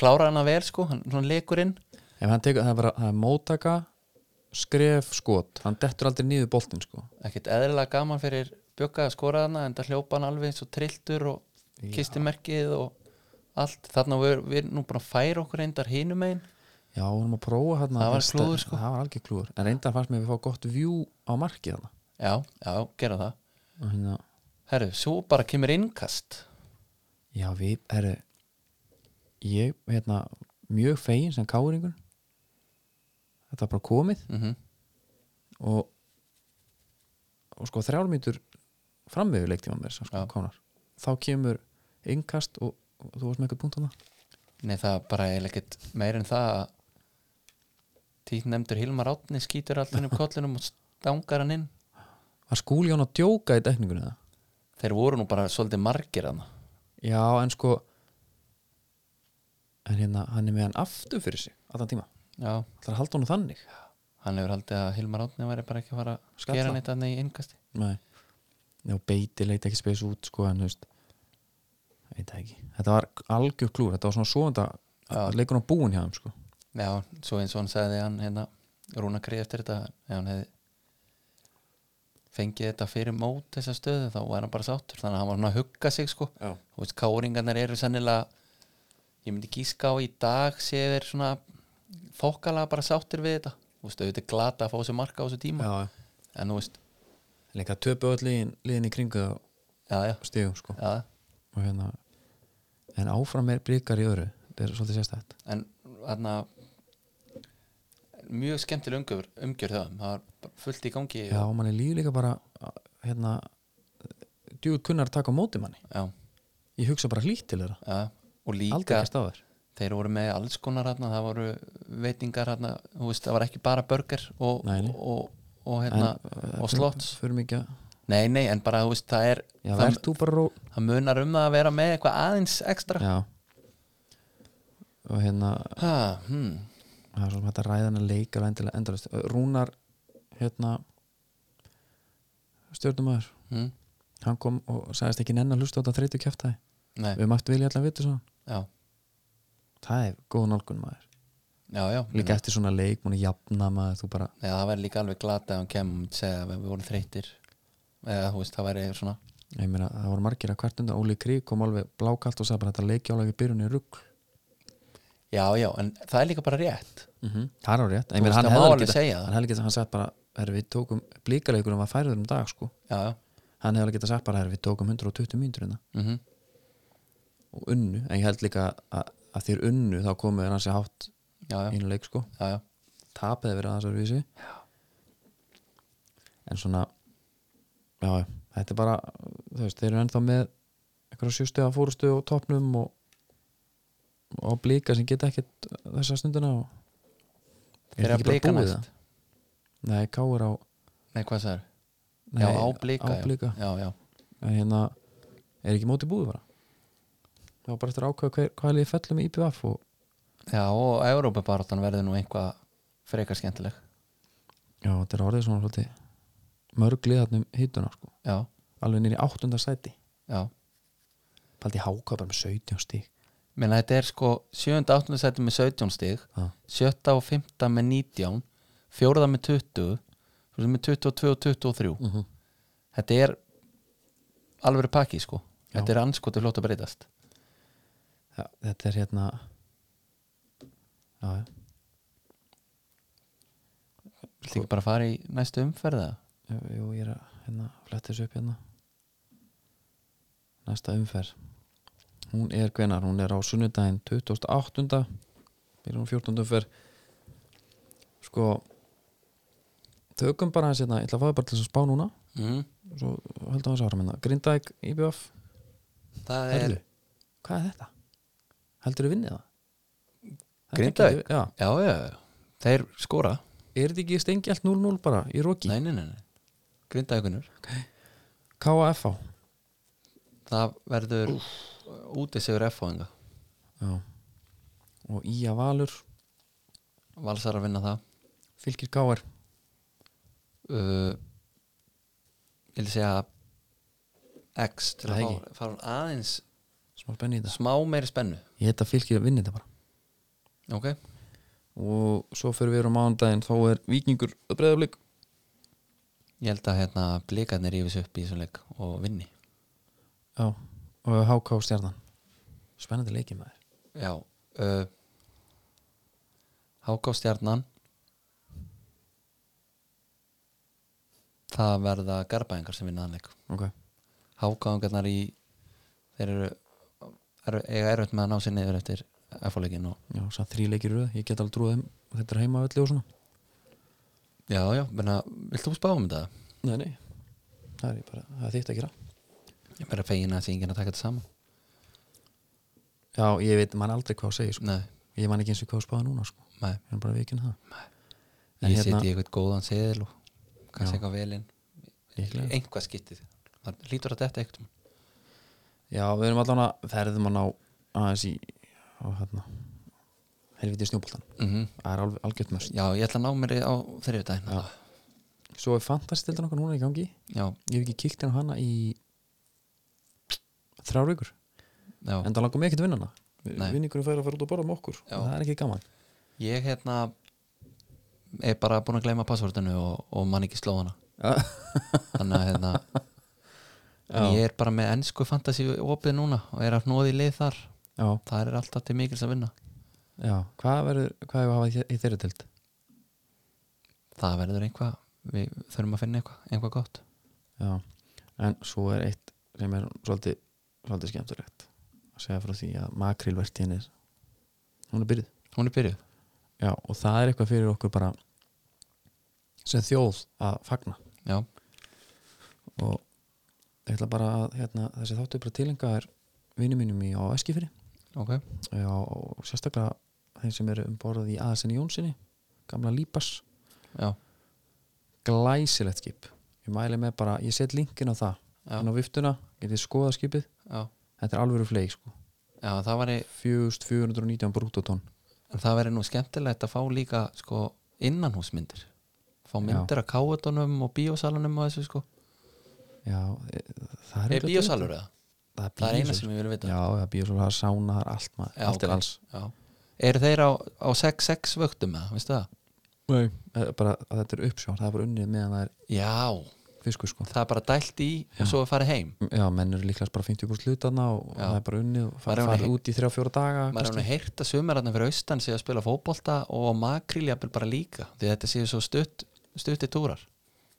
B: klára hann að vel sko, hann svona lekur inn
A: ef hann tekur, það er bara, það er mótaka skref skot, hann dettur aldrei niður boltinn sko
B: ekkert eðlilega gaman fyrir Bjögga að skora hana en það hljópa hann alveg svo trilltur og kisti merkið og allt, þarna við, við erum nú bara að færa okkur eindar hinum einn
A: já, við erum að prófa hann
B: Það var klúður, sko.
A: það var algjör klúður, en reyndar fannst mér við fá gott view á markið þarna.
B: Já, já, gera það
A: Og hérna
B: Herru, svo bara kemur innkast
A: já, við, herru ég, hérna, mjög fegin sem káringur þetta var bara komið
B: mm -hmm.
A: og, og sko þrjármýtur frammiður leiktíma mér sko,
B: Já.
A: kánar þá kemur innkast og, og þú varst með eitthvað punkt á það
B: Nei, það er bara eiginlega ekkert meir en það að títt nefndur Hilmar Átni skýtur allir upp kollinum og stangar hann inn
A: var skúli hann að djóka í dekningunni það
B: Þeir voru nú bara svolítið margir hann
A: já en sko en hérna hann er með hann aftur fyrir sig allan tíma,
B: Já,
A: það er að halda hann þannig
B: hann hefur haldið að Hilmar Átni væri bara ekki að fara að
A: Skalla.
B: skera hann eitthvað í innkasti
A: nei, Nei, og beiti leita ekki spes út sko en þú veist ég veit það ekki, þetta var algjör klúr þetta var svona svoðanda,
B: Já.
A: leikur hann búin hjá þeim sko
B: Já, svo eins og hann sagði hann hérna Rúna Krið eftir þetta ef hann hefði fengið þetta fyrir mót þessa stöðu þá var hann bara sáttur þannig að hann var hann að hugga sig sko
A: já,
B: þú veist, káringarnar eru sennilega ég myndi gíska á í dag séu þeir svona þokkalega bara sáttir við þetta þú veist, auðvitað er glata að fá sér marka á þessu tíma
A: já.
B: en þú veist,
A: líka töpu öll liðin, liðin í kringu það
B: já, já,
A: stigum sko
B: já
A: og hérna en áfram er blikar í öru þetta er svolítið sérstætt
B: en þarna mjög skemmtileg umgjör, umgjör það það var bara fullt í gangi
A: já og manni líður líka bara hérna djúið kunnar að taka á móti manni
B: já,
A: ég hugsa bara hlýtt til þeirra
B: já. og
A: aldrei
B: líka
A: ekki stafar
B: þeir voru með alls konar hérna, það voru veitingar hérna, þú veist, það var ekki bara burger og,
A: Nei, nei.
B: og, og, hérna, og slots
A: fyrir mikið að
B: nei, nei, en bara, þú veist, það er
A: já
B: það,
A: verð þú bara ró
B: það munar um það að vera með eitthvað aðeins ekstra
A: já og hérna
B: ha, hmm.
A: það er svo sem hægt að ræða hann að leika alveg endilega endalist Rúnar hérna stjórnumæður
B: Hmm.
A: hann kom og sagðist ekki nenn að hlusta á þetta þreytu kjæftæði
B: Nei,
A: við mættu vilja allan vitur svona
B: já,
A: það er góð nálgun maður
B: já, já
A: líka eftir svona leik, múin að jafna maður þú bara,
B: Nei, það væri líka alveg glata að hann kemur og myndi segja að við vorum þreytir eða þú veist, það væri svona
A: ég meina, það voru margir að hvert undan Óli Krík kom alveg blákalt og sagði bara þetta leikjálega í byrjunni er rugg
B: já, já, en það er líka bara rétt
A: mm -hmm. það er á rétt,
B: Mhm. Þú
A: ég meina,
B: veist,
A: hann
B: það má
A: hefði
B: alveg
A: alveg
B: segja
A: getað
B: það.
A: hann hefði getað, hann sagði bara, herri við tókum blíkaleikunum var færður um dag, sko
B: já, já,
A: hann hefði alveg getað sagt bara, herri við tókum 120 mínútur hérna
B: mm
A: og unnu, en ég held líka að, að þér unnu þá komuð hann sér hátt
B: já, já,
A: einu leik, sko
B: já, já,
A: tapiði verið aðeins að vísi en svona já, já, þetta er bara þú veist, þeir eru ennþá með einhverja sjöstu að fórustu og topnum og, og blíka sem geta ekkit þessa stundina og
B: Þeir eru að
A: bara
B: Blika
A: búið
B: næst.
A: það? nei, káur á
B: nei, hvað það er
A: nei,
B: já, á blika,
A: á Blika.
B: já, já,
A: en hérna er ekki móti búið bara það var bara eftir að ákveða hver, hvað liðið fellur með IPVF og
B: já, já og Európa-baráttan verður nú einhvað frekar skemmtileg
A: já, þetta er orðið svona svolítið mörg liðatnum hittuna sko
B: já,
A: alveg nýri áttunda sæti
B: já
A: Paldi Háka bara um með 17 stík
B: menn þetta er sko 7. 8. seti með 17 stig
A: Já.
B: 7. og 5. með 19 4. með 20 svo sem með 22 og 23
A: -hmm.
B: þetta er alveg pakki sko
A: Já.
B: þetta er anskotið hljótt að breytast
A: Já, Þetta er hérna Já, já.
B: Viltu ekki bara fara í næstu umferða
A: Jú, jú, ég er að hérna, fletta þessu upp hérna Næsta umferð Hún er hvenar, hún er á sunnudaginn 28. Byrjum hún 14. umferð Sko Tökum bara hans hérna, ég ætla að fá þið bara til þess að spá núna
B: mm.
A: Svo höldum hans ára minna Grindæk, IBF,
B: það
A: Hörðu Hvað er þetta? Heldur þið vinnið það? Þetta
B: Grindavík?
A: getur- Já
B: já, já, já. þeir skora
A: er þetta ekki stengjalt 0-0 bara í roki
B: nei, nei, nei, nei. grindaðugunur
A: KFA
B: það verður úti sigur F-fóðinga
A: Já. og Ía Valur
B: Valsar að vinna það
A: fylgir KR
B: uh, ég vil segja X til
A: Það
B: að
A: ekki.
B: fá, fá hún aðeins
A: smá spenni í þetta
B: smá meiri spennu
A: ég heit að fylgir að vinna þetta bara
B: ok,
A: og svo fyrir við á mánudaginn þá er Víkingur að breyðablík
B: ég held að hérna blikarnir rífis upp í þessum leik og vinni
A: Já. og HK stjarnan spennandi leikið maður
B: já uh, Háká stjarnan það verða garbaðingar sem vinna þann leik
A: okay.
B: Hákáðingarnar í þeir eru, eru eiga erfitt með að ná sér niður eftir F-leikin og
A: já, samt þrý leikir í röð, ég get alveg trúið þeim og þetta er heima öllu og svona
B: já, já, menna, vilt þú spá um þetta?
A: Nei, nei, það er ég bara, það er þitt að gera
B: Ég bara fegin að það sé enginn að taka þetta saman
A: Já, ég veit, mann aldrei hvað að segja sko.
B: Nei,
A: Ég man ekki eins og hvað að spáða núna sko.
B: nei,
A: Ég er bara vikinn það En
B: ég
A: hérna-
B: seti í eitthvað góðan seðil og kannski
A: Já.
B: eitthvað velinn
A: Líklega.
B: einhvað skiptið það lítur að þetta eitthvað
A: Já, við erum allan að ferðum að ná aðeins í á, hérna, helviti snjóboltan
B: mm
A: Það er alveg algjört mörst
B: Já, ég ætla að ná mér í- á þriðudaginn
A: Mhm. Já. Svo er fantastildin okkar núna í gangi
B: já,
A: Ég hef ekki kíkt inn á hana í þrjár vikur
B: já.
A: En það langar mig ekkert að vinna hana
B: Nei.
A: Vinningunum fær að fara út og borða með okkur
B: Já.
A: og Það er ekki gaman
B: Ég hérna er bara búin að gleyma passvortinu og, og man ekki sló hana þannig að hérna en
A: Já.
B: ég er bara með ennsku fantasi opið núna og er að hnóði lið þar
A: Já,
B: það er alltaf til mikils að vinna
A: já, hvað verður, hvað hefur að hafa í- í þeirri tild?
B: það verður einhvað, við þurfum að finna eitthvað einhvað gott
A: Já, en svo er eitt sem er svolítið, svolítið skemmtilegt að segja frá því að makrilvertíðin er hún er byrjuð
B: hún er byrjuð,
A: Já, og það er eitthvað fyrir okkur bara sem þjóð að fagna
B: já,
A: og ég ætla bara að hérna, þessi þáttu bara tilenga er vinum mínum í á Eskifyrir
B: ok
A: Já, og sérstaklega þeim sem eru um borðið í aðsenni Jónsinni gamla Líbas
B: já,
A: glæsilegt skip ég mæli með bara, ég set linkin á það
B: Já.
A: en á viftuna, getið skoða skipið
B: já,
A: þetta er alvöru fleik sko
B: já það væri
A: 4419 brúttótonn
B: en það væri nú skemmtilegt að fá líka sko innanhúsmyndir fá myndir af káutunum og bíósalunum og þessu sko,
A: já, e- það er
B: er bíósalur eða?
A: það er,
B: það er eina
A: bíósalur.
B: sem ég vil vita
A: já, það er bíósalur, það er sána, það er allt maður,
B: Já,
A: allt
B: ok.
A: er alls
B: Já. Eru þeir á, á 6-6 vöktum eða, veistu það?
A: Nei. bara að þetta er uppsjón, það er bara unnið meðan það er
B: Já,
A: fiskur sko
B: það er bara dælt í og svo er farið heim
A: já, menn eru líklega bara 50 brúst hlutana og og
B: Já.
A: það er bara unnið og
B: Maður
A: fara,
B: er
A: fara
B: hún-
A: út í 3-4 daga
B: Maður er hann að heyrta sumararna fyrir austan séu að spila fótbolta og makríljapil bara líka því þetta séu svo stutt, stutti túrar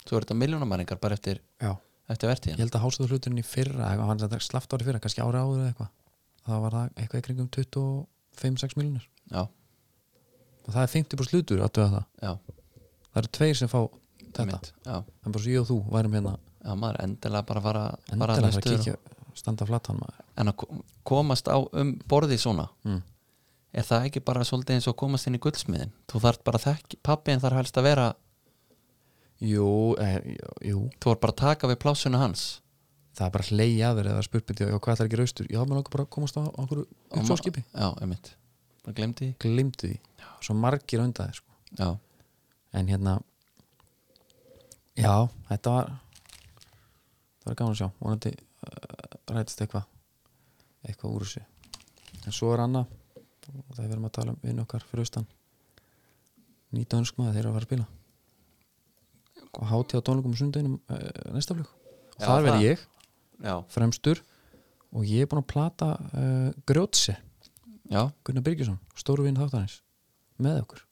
B: Svo eru þetta miljónamæringar bara eftir,
A: já,
B: eftir
A: ég
B: vertíðin
A: held að hásuðu hluturinn í fyrra eða hann er slaft ári fyrra, kannski ári áður eða eitthvað það var það eitthvað í kringum 25-6 miljonir
B: Já,
A: og það er 50 brúst hlutur, áttu það
B: já,
A: það eru tveir sem fá þetta,
B: mitt Já,
A: en bara svo ég og þú værum hérna
B: já, maður er endilega bara að fara, fara
A: endilega
B: þarna
A: að
B: í stuður.
A: kíkja standa flatan maður
B: En að ko- komast á um borðið svona
A: mm.
B: er það ekki bara svolítið eins og komast inn í guldsmiðin þú þarf bara að þekki, pappiðin þarf helst að vera
A: jú, eh, jú,
B: þú var bara að taka við plásuna hans
A: það er bara hleyja að vera eða spurbyndi og hvað ætlar ekki raustur já, maður okkur bara að komast á á okkur
B: Á ma-
A: uppsóskipi
B: já, einmitt, bara glemdi því
A: glimtu því, svo margir undan þér sko.
B: já,
A: en hérna já, þetta var það var gaman að sjá vonandi uh, rætist eitthvað eitthvað úr þessu en svo er annað og það verðum að tala um vinn okkar fyrir austan nýta önskmaði þeir eru að fara að spila og hátíð á tónleikum á sundaginum uh, næsta flug og
B: Já,
A: þar
B: það.
A: verði ég
B: já,
A: fremstur og ég er búin að plata uh, Grjótse,
B: já
A: Gunnar Birgisson stóru vinn þáttanins, með okkur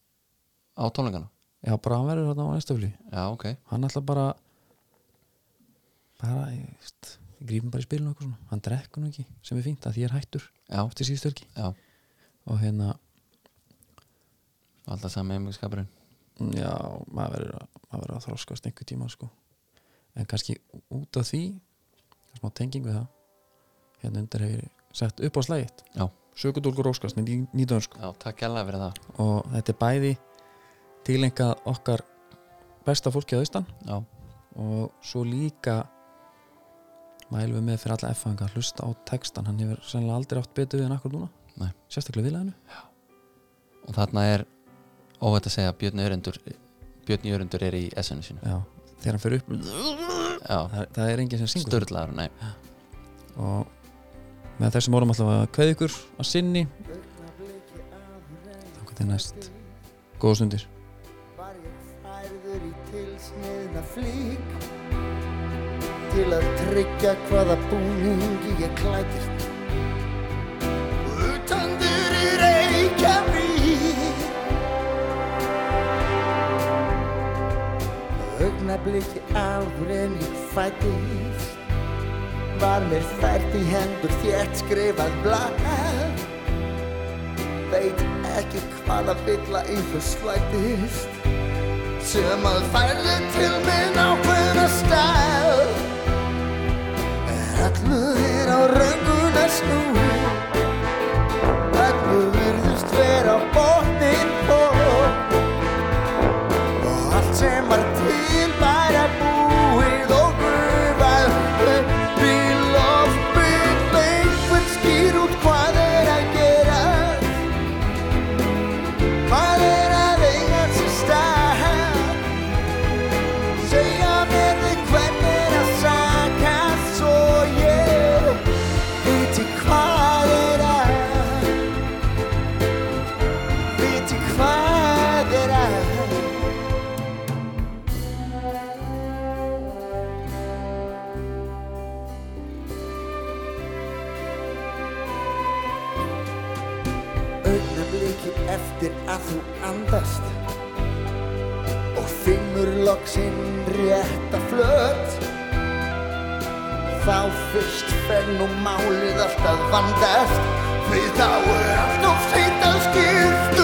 B: á tónleikana
A: já bara hann verður þarna á næsta flugi
B: já, ok,
A: hann ætla bara bara, ég veist ég grífum bara í spilinu og eitthvað svona, hann drekkur nú ekki sem er fínt að því ég er hættur
B: já,
A: eftir síðustu helgi
B: já
A: og hérna,
B: alltaf sami einmjögskapurinn
A: já, maður verður að, maður verður að þroskast einhver tíma sko en kannski út af því smá tenging við það hérna undir hefur ég sett upp á slægitt
B: Já.
A: sökudólkur óskast með nýtöðun sko
B: já, takk hérlega fyrir það
A: og þetta er bæði tilengjað okkar besta fólki á austan
B: já,
A: og svo líka mælum við með fyrir alla F-fanga að hlusta á textan, hann hefur sennilega aldrei átt betur við en akkur núna,
B: Nei.
A: sérstaklega viðlæðinu
B: og þarna er óvægt að segja að Björn Jörundur Björn Jörundur er í SN-u sínu
A: já, þegar hann fer upp
B: já,
A: það, það er enginn sem syngur
B: störðlaður, nei
A: og með þessum orðum alltaf að kveði ykkur að sinni þá hvað er næst góða stundir
C: Var ég færður í tilsniðna flík Til að tryggja hvaða búningi ég klættist Utandur í Reykjavík Augnabliki áður en ég fættist Var mér fært í hendur þétt skrifað blað veit ekki hvaða bylla einhver slættist sem að færði til minn ákveðna stæl er allu þér á rönguna snú allu virðist vera bóttin på og allt sem var til bara búið og gufað upp í loftbytt einhvern skýr út hvað er að gera hvað er að eiga sér stað segja mér þig hvern er að saka svo ég viti hvað er að viti hvað er að augnabliki eftir að þú andast og finnur loksinn rétta flöt þá fyrst fenn og málið allt að vandast því þá er allt of seint að skipta